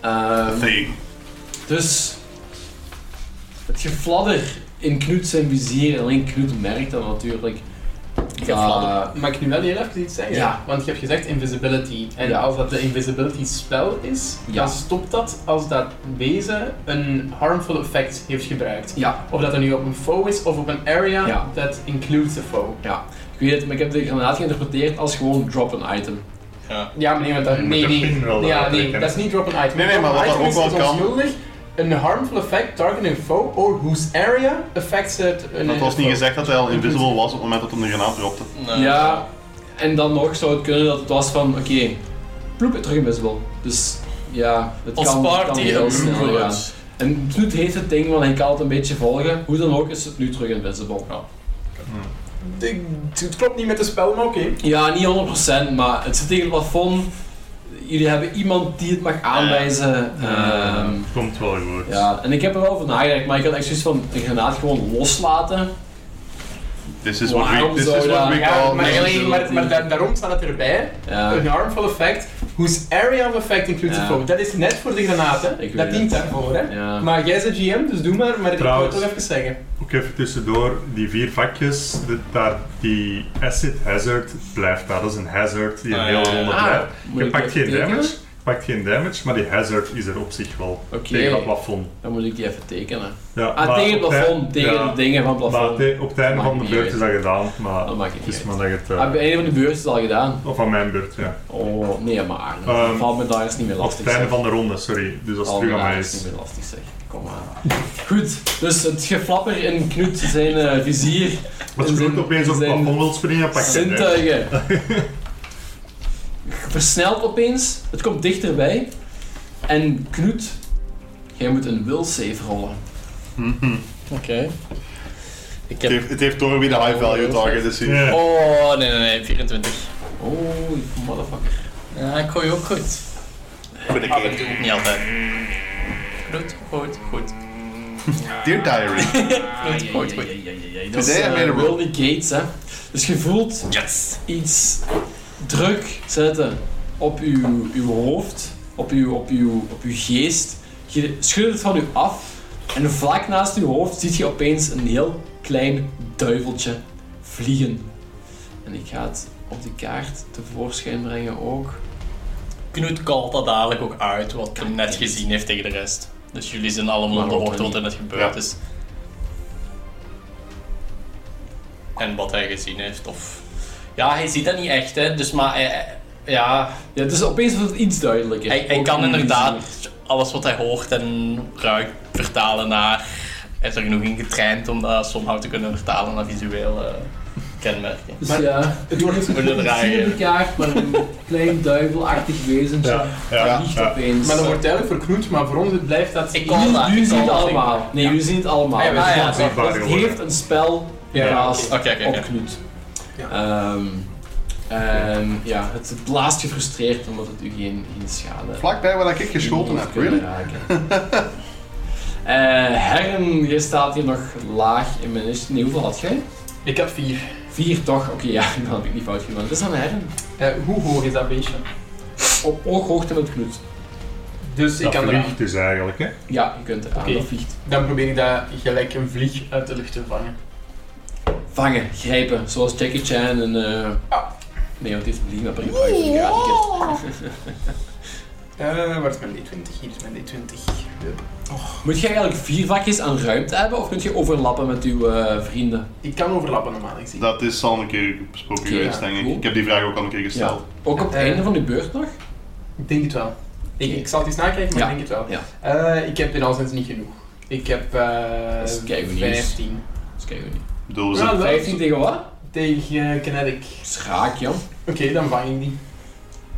[SPEAKER 1] Ehm,
[SPEAKER 4] Thing.
[SPEAKER 1] Dus het gefladder in Knut zijn vizier, alleen Knut merkt dat natuurlijk.
[SPEAKER 5] Gefladder.
[SPEAKER 1] Ah,
[SPEAKER 2] Eh, Mag ik nu wel heel even iets zeggen?
[SPEAKER 1] Ja.
[SPEAKER 2] Want je hebt gezegd invisibility. En
[SPEAKER 1] Ja.
[SPEAKER 2] als dat de invisibility spel is,
[SPEAKER 1] Ja.
[SPEAKER 2] dan stopt dat als dat wezen een harmful effect heeft gebruikt.
[SPEAKER 1] ja,
[SPEAKER 2] Of dat dat nu op een foe is of op een
[SPEAKER 1] Ja.
[SPEAKER 2] area dat includes a foe.
[SPEAKER 1] ja. Ik weet het, maar ik heb de granaat geïnterpreteerd als gewoon drop een item.
[SPEAKER 2] Ja, maar nee, want dat,
[SPEAKER 3] Je moet
[SPEAKER 2] nee,
[SPEAKER 3] de
[SPEAKER 2] nee.
[SPEAKER 3] pin wel
[SPEAKER 2] Ja,
[SPEAKER 3] eruit
[SPEAKER 2] nee,
[SPEAKER 3] trekken.
[SPEAKER 2] dat is niet drop an item.
[SPEAKER 4] Nee, nee, maar wat
[SPEAKER 2] Drop an
[SPEAKER 4] dat
[SPEAKER 2] item
[SPEAKER 4] ook
[SPEAKER 2] is-
[SPEAKER 4] wel
[SPEAKER 2] is
[SPEAKER 4] kan.
[SPEAKER 2] onschuldig. Een harmful effect targeting a foe or whose area affects it.
[SPEAKER 4] Maar het was niet gezegd dat hij al invisible was op het moment dat hij de granaat dropte.
[SPEAKER 5] Nee.
[SPEAKER 1] Ja, en dan nog zou het kunnen dat het was van, oké, ploep, terug invisible. Dus ja, het
[SPEAKER 5] Ons
[SPEAKER 1] kan, het kan
[SPEAKER 5] party
[SPEAKER 1] heel snel gaan.
[SPEAKER 5] approved.
[SPEAKER 1] En Knut heeft het ding, want hij kan het een beetje volgen. Hoe dan ook is het nu terug invisible.
[SPEAKER 2] Het klopt niet met het spel, maar oké.
[SPEAKER 1] Ja, niet 100%, maar het zit tegen het plafond. Jullie hebben iemand die het mag aanwijzen. Ehm,
[SPEAKER 3] Komt wel goed.
[SPEAKER 1] ja, en ik heb er wel over nagedacht, maar ik had echt zoiets van een granaat gewoon loslaten.
[SPEAKER 4] This is what we,
[SPEAKER 1] Waarom
[SPEAKER 4] this
[SPEAKER 1] zou
[SPEAKER 4] is what
[SPEAKER 1] dat-
[SPEAKER 4] we
[SPEAKER 1] Ja,
[SPEAKER 2] Ja,
[SPEAKER 4] call.
[SPEAKER 2] maar,
[SPEAKER 1] nee,
[SPEAKER 2] alleen- maar, maar
[SPEAKER 1] nee.
[SPEAKER 2] daar- daarom staat het erbij.
[SPEAKER 1] Ja,
[SPEAKER 2] Een harmful effect, whose area of effect includes
[SPEAKER 1] Ja.
[SPEAKER 2] a foe. Dat is net voor de granaten.
[SPEAKER 1] Ik weet
[SPEAKER 2] Dat
[SPEAKER 1] het.
[SPEAKER 2] dient daarvoor, hè.
[SPEAKER 1] ja.
[SPEAKER 2] Maar jij is de GM, dus doe maar, maar ik wil het
[SPEAKER 3] Trouwens.
[SPEAKER 2] toch even zeggen.
[SPEAKER 3] Ook even tussendoor, die vier vakjes, de- daar, die acid hazard blijft daar. Dat is een hazard die een
[SPEAKER 5] Ah,
[SPEAKER 3] hele
[SPEAKER 5] ja, ja.
[SPEAKER 3] ronde
[SPEAKER 1] Ah,
[SPEAKER 3] blijft.
[SPEAKER 1] moet
[SPEAKER 3] Je
[SPEAKER 1] ik
[SPEAKER 3] pakt
[SPEAKER 1] dat
[SPEAKER 3] geen
[SPEAKER 1] tekenen?
[SPEAKER 3] damage, je pakt geen damage, maar die hazard is er op zich wel.
[SPEAKER 1] Oké.
[SPEAKER 3] Tegen dat plafond.
[SPEAKER 1] Dan moet ik die even tekenen.
[SPEAKER 3] Ja,
[SPEAKER 1] Ah,
[SPEAKER 3] maar
[SPEAKER 1] tegen het
[SPEAKER 3] op het
[SPEAKER 1] plafond,
[SPEAKER 3] eind-
[SPEAKER 1] tegen
[SPEAKER 3] ja,
[SPEAKER 1] de dingen van het
[SPEAKER 3] Maar
[SPEAKER 1] plafond. Ah,
[SPEAKER 3] te- op het einde
[SPEAKER 1] Dat
[SPEAKER 3] van
[SPEAKER 1] maakt
[SPEAKER 3] de
[SPEAKER 1] niet
[SPEAKER 3] beurt is dat gedaan, maar
[SPEAKER 1] Dat maakt niet
[SPEAKER 3] het is
[SPEAKER 1] uit.
[SPEAKER 3] maar dat je het... eh,
[SPEAKER 1] Ah, Bij een van de beurten is het al gedaan.
[SPEAKER 3] of aan mijn beurt, ja.
[SPEAKER 1] Oh, nee, maar Arne,
[SPEAKER 3] Ehm,
[SPEAKER 1] dat valt me daar eens niet meer
[SPEAKER 3] Op het
[SPEAKER 1] lastig.
[SPEAKER 3] einde
[SPEAKER 1] zeg.
[SPEAKER 3] van de ronde, sorry. Dus dat is
[SPEAKER 1] Valt me
[SPEAKER 3] terug aan
[SPEAKER 1] daar
[SPEAKER 3] mij.
[SPEAKER 1] eens niet
[SPEAKER 3] is.
[SPEAKER 1] meer lastig, zeg. Kom aan. Goed, dus het geflapper in Knut zijn eh, vizier.
[SPEAKER 3] Als je
[SPEAKER 1] Zijn-
[SPEAKER 3] goed opeens op het
[SPEAKER 1] zijn-
[SPEAKER 3] plafond wilt springen, pak je het. hè.
[SPEAKER 1] Zintuigen. Versnelt opeens, het komt dichterbij. En Knut, jij moet een will save rollen.
[SPEAKER 4] Mhm.
[SPEAKER 5] Oké. Ik
[SPEAKER 4] Het
[SPEAKER 5] heb...
[SPEAKER 4] heeft- Het heeft door wie de high value target is hier.
[SPEAKER 3] Ja.
[SPEAKER 5] Oh, nee, nee, nee. 24.
[SPEAKER 1] Oh, motherfucker.
[SPEAKER 5] Ja, ik gooi ook goed.
[SPEAKER 4] Met een
[SPEAKER 5] Maar dat
[SPEAKER 4] keer.
[SPEAKER 5] doe ik niet altijd. Goed, goed, goed.
[SPEAKER 4] Dear Diary.
[SPEAKER 5] Goed, goed, goed.
[SPEAKER 1] Dat is
[SPEAKER 4] Today I made
[SPEAKER 1] eh,
[SPEAKER 4] a roll.
[SPEAKER 1] Will the Gates, hè. Dus je voelt
[SPEAKER 5] Yes.
[SPEAKER 1] iets druk zetten op uw, uw hoofd, op uw, op, uw, op uw geest. Je schudt het van u af en vlak naast uw hoofd ziet je opeens een heel klein duiveltje vliegen. En ik ga het op de kaart tevoorschijn brengen ook.
[SPEAKER 5] Knut kalt dat dadelijk ook uit, wat hij net gezien heeft tegen de rest. Dus jullie zijn allemaal
[SPEAKER 1] Maar
[SPEAKER 5] op de
[SPEAKER 1] ook
[SPEAKER 5] hoogte wat er net gebeurd
[SPEAKER 4] Ja.
[SPEAKER 5] is. En wat hij gezien heeft, of... Ja, hij ziet dat niet echt, hè. Dus maar, hij- hij- ja...
[SPEAKER 1] Ja, dus opeens wordt het iets duidelijker.
[SPEAKER 5] Hij, hij
[SPEAKER 1] Ook
[SPEAKER 5] kan
[SPEAKER 1] in uw
[SPEAKER 5] inderdaad
[SPEAKER 1] vizier.
[SPEAKER 5] alles wat hij hoort en ruikt vertalen naar... Hij is er genoeg in getraind om dat somehow te kunnen vertalen naar visueel... eh, kenmerken.
[SPEAKER 6] Dus
[SPEAKER 2] Maar-
[SPEAKER 6] ja,
[SPEAKER 2] Het wordt
[SPEAKER 5] We moeten draaien.
[SPEAKER 6] vierde kaart, maar een klein duivelachtig wezentje.
[SPEAKER 3] Ja, ja,
[SPEAKER 6] Vliegt
[SPEAKER 3] ja.
[SPEAKER 6] opeens.
[SPEAKER 2] Maar dat wordt duidelijk verknoeid, maar voor ons blijft dat... Ja,
[SPEAKER 5] Ik kan dat.
[SPEAKER 1] Jullie
[SPEAKER 5] ik
[SPEAKER 1] zien het
[SPEAKER 5] kan dat.
[SPEAKER 1] allemaal. Nee,
[SPEAKER 2] Ja.
[SPEAKER 1] jullie zien het allemaal.
[SPEAKER 2] Ah, ja, we
[SPEAKER 1] Dus
[SPEAKER 5] zien
[SPEAKER 1] ja,
[SPEAKER 5] het
[SPEAKER 1] want
[SPEAKER 3] zichtbaar
[SPEAKER 1] het
[SPEAKER 3] geworden.
[SPEAKER 1] heeft een spel
[SPEAKER 2] Ja,
[SPEAKER 1] geplaatst
[SPEAKER 5] Oké, oké,
[SPEAKER 1] op
[SPEAKER 5] oké.
[SPEAKER 1] Knut.
[SPEAKER 2] Ja.
[SPEAKER 1] Ehm, en ja, het, het blaast gefrustreerd omdat het u geen, geen schade
[SPEAKER 4] Vlakbij waar ik geschoten heb,
[SPEAKER 1] kunnen
[SPEAKER 4] really?
[SPEAKER 1] raken. Eh, Herren, je staat hier nog laag in mijn list. Nee, hoeveel had jij?
[SPEAKER 2] Ik heb vier.
[SPEAKER 1] Vier toch? Oké, ja, dan heb ik niet fout gemaakt. Het is aan Herren.
[SPEAKER 2] Eh, hoe hoog is dat beestje?
[SPEAKER 1] Op ooghoogte met Knut.
[SPEAKER 2] Dus ik
[SPEAKER 3] Dat
[SPEAKER 2] kan eraan.
[SPEAKER 3] vliegt dus eigenlijk, hè.
[SPEAKER 1] Ja, je kunt eraan.
[SPEAKER 2] Oké.
[SPEAKER 1] Dat vliegt.
[SPEAKER 2] Dan probeer ik dat gelijk een vlieg uit de lucht te vangen.
[SPEAKER 1] Vangen, grijpen, zoals Jackie Chan en... eh, Nee, want die heeft vliegen maar gebruikt. voor de karate kid.
[SPEAKER 2] Eh, waar is mijn D20? Hier is mijn Eh, D20. Hup.
[SPEAKER 1] Moet je eigenlijk vier vakjes aan ruimte hebben of moet je overlappen met uw eh, vrienden?
[SPEAKER 2] Ik kan overlappen normaal gezien.
[SPEAKER 4] Dat is al een keer besproken
[SPEAKER 1] Oké, ja,
[SPEAKER 4] geweest, denk ik.
[SPEAKER 1] cool.
[SPEAKER 4] Ik heb die vraag ook al een keer gesteld.
[SPEAKER 1] Ook op het
[SPEAKER 2] Eh.
[SPEAKER 1] einde van de beurt nog?
[SPEAKER 2] Ik denk het wel. Ik,
[SPEAKER 1] Oké.
[SPEAKER 2] ik zal het eens nakijken, maar
[SPEAKER 1] Ja.
[SPEAKER 2] ik denk het wel.
[SPEAKER 1] Ja.
[SPEAKER 2] Eh, ik heb dit al sinds niet genoeg. Ik heb eh
[SPEAKER 1] Dat is keigoed nieuws.
[SPEAKER 2] 15
[SPEAKER 1] Dat kijken we niet.
[SPEAKER 4] Ik bedoel, we
[SPEAKER 2] Ja,
[SPEAKER 4] zijn-
[SPEAKER 2] dat-
[SPEAKER 1] 15 tegen wat?
[SPEAKER 2] tegen eh, Kinetic.
[SPEAKER 1] Schraak, joh.
[SPEAKER 2] Oké, dan vang ik die.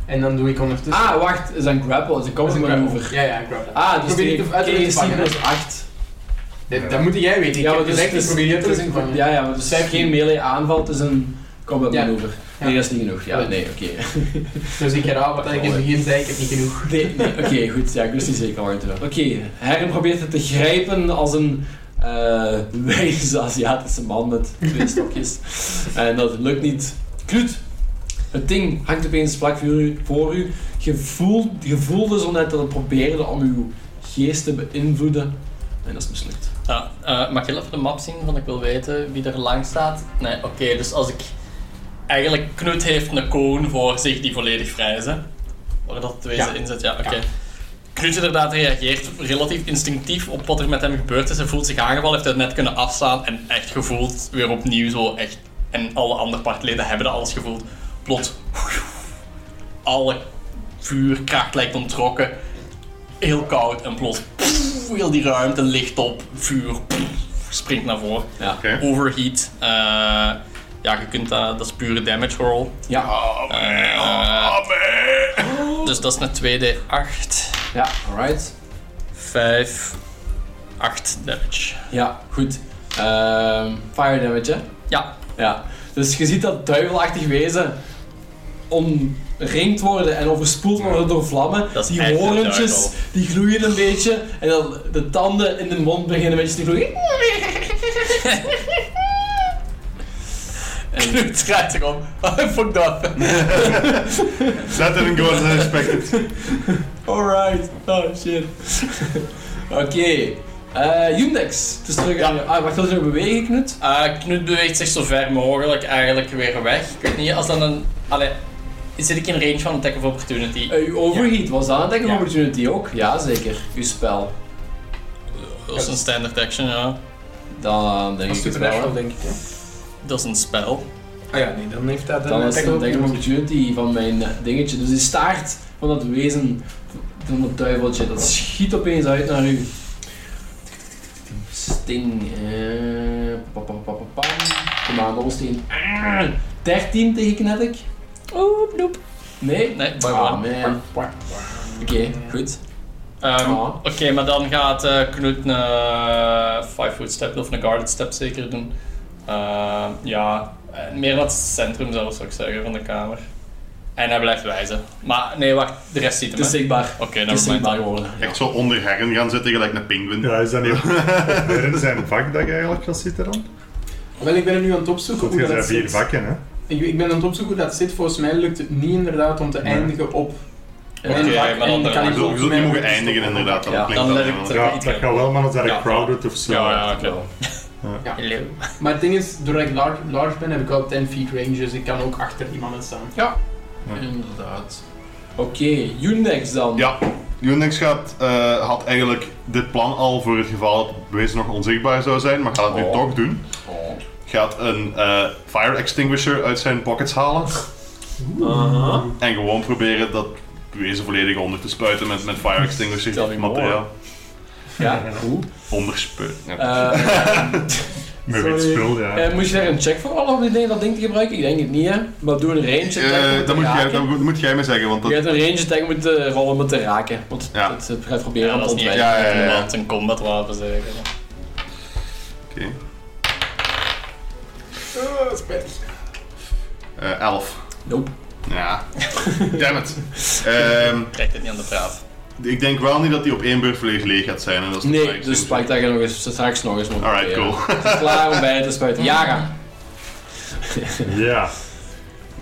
[SPEAKER 2] En dan doe ik ondertussen.
[SPEAKER 1] Ah, wacht, is een grapple, is een
[SPEAKER 2] Dus- Dat is
[SPEAKER 1] combat
[SPEAKER 2] een grapple.
[SPEAKER 1] maneuver.
[SPEAKER 2] Ja, ja, ik grapple.
[SPEAKER 1] Ah, dus
[SPEAKER 2] Probeer
[SPEAKER 1] die
[SPEAKER 2] ik even uit de lucht te
[SPEAKER 1] KC
[SPEAKER 2] vangen,
[SPEAKER 1] plus 8.
[SPEAKER 2] Dat, dat moet jij weten. Ik heb
[SPEAKER 1] maar
[SPEAKER 2] gezegd, ik probeer je
[SPEAKER 1] het is
[SPEAKER 2] terug te
[SPEAKER 1] een,
[SPEAKER 2] vangen.
[SPEAKER 1] dus- ja, ja, maar dus
[SPEAKER 2] Vijftien.
[SPEAKER 1] geen melee aanval, het is een combat
[SPEAKER 2] Ja.
[SPEAKER 1] maneuver.
[SPEAKER 2] Ja.
[SPEAKER 1] Nee, dat is niet genoeg. Ja,
[SPEAKER 2] Ja.
[SPEAKER 1] nee, oké.
[SPEAKER 2] Dus ik herhaal wat ik in het begin zei, ik heb niet genoeg.
[SPEAKER 1] Nee, nee, oké, goed. Ja, ik wist niet zeker waar het over Oké, Herren probeert het te grijpen als een eh wijze Aziatische man met twee stokjes. En dat lukt niet. Knut, het ding hangt opeens vlak voor u. Voor u. Je, voelt, je voelde zo net dat het probeerde om uw geest te beïnvloeden. En dat is mislukt.
[SPEAKER 5] Ja, eh, mag je even de map zien? Want ik wil weten wie er lang staat. Nee, oké, dus als ik. Eigenlijk, Knut heeft een koon voor zich die volledig vrij is. Hè? Waar dat het wezen
[SPEAKER 2] Ja.
[SPEAKER 5] in zit, ja, oké. Knut inderdaad reageert relatief instinctief op wat er met hem gebeurd is. Hij voelt zich aangevallen, heeft het net kunnen afstaan en echt gevoeld weer opnieuw zo echt. En alle andere partleden hebben dat alles gevoeld. Plots, alle vuurkracht lijkt ontrokken. Heel koud en plots, pff, heel die ruimte licht op, vuur pff, springt naar voren.
[SPEAKER 1] Ja.
[SPEAKER 4] Oké.
[SPEAKER 5] Overheat. eh, ja, je kunt dat, dat is pure damage roll.
[SPEAKER 1] Ja,
[SPEAKER 5] Eh, dus dat is een 2d8.
[SPEAKER 1] ja, alright.
[SPEAKER 5] 5, 8 damage.
[SPEAKER 1] Ja, goed. Ehm, fire damage, hè?
[SPEAKER 5] Ja,
[SPEAKER 1] Ja, dus je ziet dat duivelachtig wezen omringd worden en overspoeld worden door vlammen.
[SPEAKER 5] Dat is
[SPEAKER 1] die
[SPEAKER 5] echt een
[SPEAKER 1] horentjes
[SPEAKER 5] duivel.
[SPEAKER 1] die gloeien een beetje en dan de tanden in de mond beginnen een beetje te gloeien. En-
[SPEAKER 5] Knut draait zich om. Fuck dat.
[SPEAKER 4] That didn't go as I expected.
[SPEAKER 1] Alright, oh shit. Oké, Eh, Yundex, het is terug aan je. Ah, wacht, wil je nog bewegen, Knut?
[SPEAKER 5] Eh, Knut beweegt zich zo ver mogelijk eigenlijk weer weg. Ik weet niet, als dan een... Allee, zit ik in range van Attack of Opportunity?
[SPEAKER 1] Eh, uw overheat, was dat een attack of
[SPEAKER 5] Ja.
[SPEAKER 1] opportunity ook? Ja, zeker. Uw spel.
[SPEAKER 5] Dat is een standard action, ja.
[SPEAKER 1] Dan denk
[SPEAKER 2] Dat is
[SPEAKER 1] ik het wel.
[SPEAKER 2] supernatural,
[SPEAKER 1] hè.
[SPEAKER 2] denk ik. hè.
[SPEAKER 5] Dat is een spel.
[SPEAKER 2] Ah ja, nee, dan heeft dat
[SPEAKER 1] Dan is het
[SPEAKER 2] tackle
[SPEAKER 1] een denk ik een
[SPEAKER 2] opportunity.
[SPEAKER 1] opportunity van mijn dingetje. Dus die staart van dat wezen, van dat duiveltje, dat schiet opeens uit naar u. Sting. eh, pa, pa, pa, pa, pam. Kom aan, rolsteen. Ah, 13 tegen Kinetic?
[SPEAKER 5] Oeh, noep.
[SPEAKER 1] Nee?
[SPEAKER 5] Nee, by
[SPEAKER 1] Ah,
[SPEAKER 5] one.
[SPEAKER 1] man. Oké, goed.
[SPEAKER 5] Ehm,
[SPEAKER 1] Ah.
[SPEAKER 5] Oké, maar dan gaat eh, Knut een 5-foot step of een guarded step zeker doen. Ehm, ja, eh, meer naar het centrum zelfs zou ik zeggen van de kamer. En hij blijft wijzen. Maar nee, wacht, de rest ziet
[SPEAKER 1] Het
[SPEAKER 5] hem.
[SPEAKER 1] is
[SPEAKER 5] hè?
[SPEAKER 1] zichtbaar.
[SPEAKER 5] Oké,
[SPEAKER 1] Het is
[SPEAKER 5] nevermind.
[SPEAKER 1] zichtbaar geworden. Ja.
[SPEAKER 4] Echt zo onder herren gaan zitten, gelijk een pinguïn.
[SPEAKER 3] Ja, is dat niet Er is zijn vak dat je eigenlijk gaat zitten dan?
[SPEAKER 2] Wel, ik ben er nu aan het opzoeken
[SPEAKER 3] Want
[SPEAKER 2] hoe
[SPEAKER 3] je
[SPEAKER 2] dat
[SPEAKER 3] hebt vier
[SPEAKER 2] zit.
[SPEAKER 3] vakken, hè?
[SPEAKER 2] Ik, ik ben aan het opzoeken hoe dat zit. Volgens mij lukt het niet inderdaad om te
[SPEAKER 3] Nee.
[SPEAKER 2] eindigen op
[SPEAKER 1] En
[SPEAKER 5] Oké,
[SPEAKER 2] vak
[SPEAKER 5] maar dan-
[SPEAKER 2] en kan
[SPEAKER 4] Je
[SPEAKER 2] ik
[SPEAKER 4] zult, je
[SPEAKER 2] volgens
[SPEAKER 4] zult
[SPEAKER 2] mij
[SPEAKER 4] niet mogen
[SPEAKER 2] moeten
[SPEAKER 4] eindigen,
[SPEAKER 2] stoppen.
[SPEAKER 4] inderdaad. Dat
[SPEAKER 1] Ja,
[SPEAKER 4] klinkt
[SPEAKER 5] dan
[SPEAKER 4] dan
[SPEAKER 5] leg ik
[SPEAKER 4] helemaal.
[SPEAKER 5] het
[SPEAKER 3] Ja, dat gaat wel, maar als dat
[SPEAKER 5] Ja.
[SPEAKER 3] crowded of zo.
[SPEAKER 5] Ja, ja, oké.
[SPEAKER 1] wel.
[SPEAKER 5] Hallo.
[SPEAKER 2] Maar het ding is, doordat ik large, large ben, heb ik al 10 feet range, dus ik kan ook achter die mannen staan.
[SPEAKER 1] Inderdaad. Oké, Yundex dan.
[SPEAKER 4] Ja, Unix gaat, eh, had eigenlijk dit plan al voor het geval dat het bewezen nog onzichtbaar zou zijn, maar gaat het nu
[SPEAKER 1] Oh.
[SPEAKER 4] toch doen.
[SPEAKER 1] Oh.
[SPEAKER 4] Gaat een eh, fire extinguisher uit zijn pockets halen
[SPEAKER 1] Aha.
[SPEAKER 4] en gewoon proberen dat bewezen volledig onder te spuiten met, met fire extinguisher
[SPEAKER 1] Stel je eh,
[SPEAKER 4] materiaal.
[SPEAKER 1] Ja, cool.
[SPEAKER 4] Onderspuiten. Ja.
[SPEAKER 1] Ehm,
[SPEAKER 3] Met wit
[SPEAKER 1] Sorry.
[SPEAKER 3] spul, ja.
[SPEAKER 1] Eh, moet je daar een check voor rollen om die ding, dat ding te gebruiken? Ik denk het niet, hè? Maar doe een range attack. om
[SPEAKER 4] Eh,
[SPEAKER 1] het te
[SPEAKER 4] dat, moet jij,
[SPEAKER 1] raken.
[SPEAKER 4] dat moet- moet jij me zeggen, want
[SPEAKER 1] Je
[SPEAKER 4] dat...
[SPEAKER 1] hebt een range attack moeten rollen om het te raken. Want
[SPEAKER 4] Ja.
[SPEAKER 1] het eh, gaat proberen
[SPEAKER 5] Ja,
[SPEAKER 1] om te
[SPEAKER 5] dat is niet echt
[SPEAKER 1] ontwijken.
[SPEAKER 4] Ja, ja, ja, ja.
[SPEAKER 5] een- een combat wapen zeker.
[SPEAKER 4] Oké.
[SPEAKER 2] Oh, spijtig.
[SPEAKER 4] Eh, elf.
[SPEAKER 1] Nope.
[SPEAKER 4] Ja. Damn it. Ehm,
[SPEAKER 5] Trekt het niet aan de praat.
[SPEAKER 4] ik denk wel niet dat die op één beurt volledig leeg gaat zijn. En dat is het
[SPEAKER 1] Nee,
[SPEAKER 4] belangrijkste.
[SPEAKER 1] dus spike daar nog eens, straks nog eens. moeten
[SPEAKER 4] Alright,
[SPEAKER 1] proberen.
[SPEAKER 4] cool.
[SPEAKER 1] Het is klaar om bij te spuiten. Jara.
[SPEAKER 3] Ja.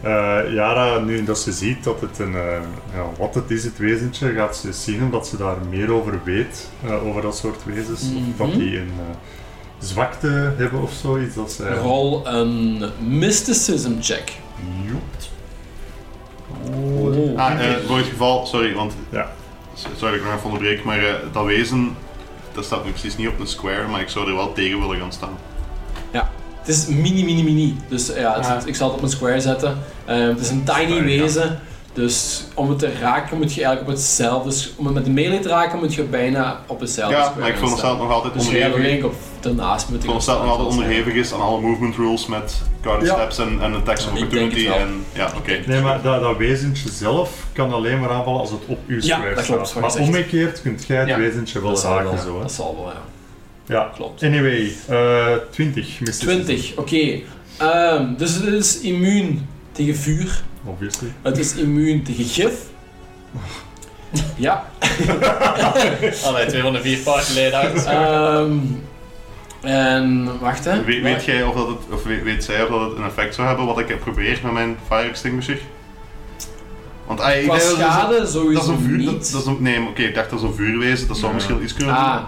[SPEAKER 3] Eh Yara, nu dat ze ziet dat het een, eh, ja, wat het is, het wezentje, gaat ze zien omdat ze daar meer over weet, eh, over dat soort wezens. Of dat
[SPEAKER 1] Mhm.
[SPEAKER 3] die een eh, zwakte hebben of zoiets. Dat ze...
[SPEAKER 1] Rol een mysticism check.
[SPEAKER 3] Joept.
[SPEAKER 1] Oh.
[SPEAKER 4] Ah, eh, voor het geval, sorry, want.
[SPEAKER 3] Ja.
[SPEAKER 4] S- Sorry dat ik nog even onderbreek, maar eh, dat wezen. Dat staat nu precies niet op een square, maar ik zou er wel tegen willen gaan staan.
[SPEAKER 1] Het is mini, mini, mini. Dus ja, het-
[SPEAKER 2] Ah.
[SPEAKER 1] het- ik zal het op een square zetten. Eh, het is een tiny
[SPEAKER 3] Tiny, ja.
[SPEAKER 1] wezen. Dus om het te raken moet je eigenlijk op hetzelfde... s- Om het met de melee te raken moet je bijna op hetzelfde
[SPEAKER 4] ja,
[SPEAKER 1] square
[SPEAKER 4] maar ik
[SPEAKER 1] gaan staan.
[SPEAKER 4] veronderstel dat het nog altijd
[SPEAKER 1] Dus je hebt
[SPEAKER 4] onderhevig, ik
[SPEAKER 1] eigenlijk op daarnaast moeten
[SPEAKER 4] veronderstel dat het nog altijd onderhevig is aan alle movement rules met guarded
[SPEAKER 1] Ja.
[SPEAKER 4] steps en, en attacks of
[SPEAKER 1] Ik denk het
[SPEAKER 4] opportunity.
[SPEAKER 1] wel.
[SPEAKER 4] En, ja, oké.
[SPEAKER 3] Nee, maar dat, dat wezentje zelf kan alleen maar aanvallen als het op uw
[SPEAKER 1] Ja,
[SPEAKER 3] square
[SPEAKER 1] dat klopt, wat
[SPEAKER 3] staat. Maar
[SPEAKER 1] je zegt.
[SPEAKER 3] omgekeerd kunt jij het
[SPEAKER 1] Ja.
[SPEAKER 3] wezentje wel
[SPEAKER 1] Dat zal
[SPEAKER 3] raken.
[SPEAKER 1] wel,
[SPEAKER 3] zo, hè.
[SPEAKER 1] dat zal wel, ja.
[SPEAKER 3] Ja.
[SPEAKER 1] Klopt.
[SPEAKER 3] Anyway, eh 20 mysticism.
[SPEAKER 1] 20, oké. Ehm, dus het is immuun tegen vuur.
[SPEAKER 3] Obviously.
[SPEAKER 1] Het is immuun tegen gif. Ja,
[SPEAKER 5] Allee, 204 partleden uit.
[SPEAKER 1] ehm, en wacht hè.
[SPEAKER 4] Weet, weet jij of, dat het, of weet, weet zij of dat het een effect zou hebben wat ik heb geprobeerd met mijn fire extinguisher? Want ah, ik
[SPEAKER 1] Qua
[SPEAKER 4] denk dat dat-
[SPEAKER 1] schade
[SPEAKER 4] dat is
[SPEAKER 1] sowieso
[SPEAKER 4] een vuur. Dat,
[SPEAKER 1] niet.
[SPEAKER 4] dat is een, nee, maar oké, ik dacht dat is een vuurwezen, dat zou
[SPEAKER 3] Ja.
[SPEAKER 4] misschien wel iets kunnen doen.
[SPEAKER 1] ah,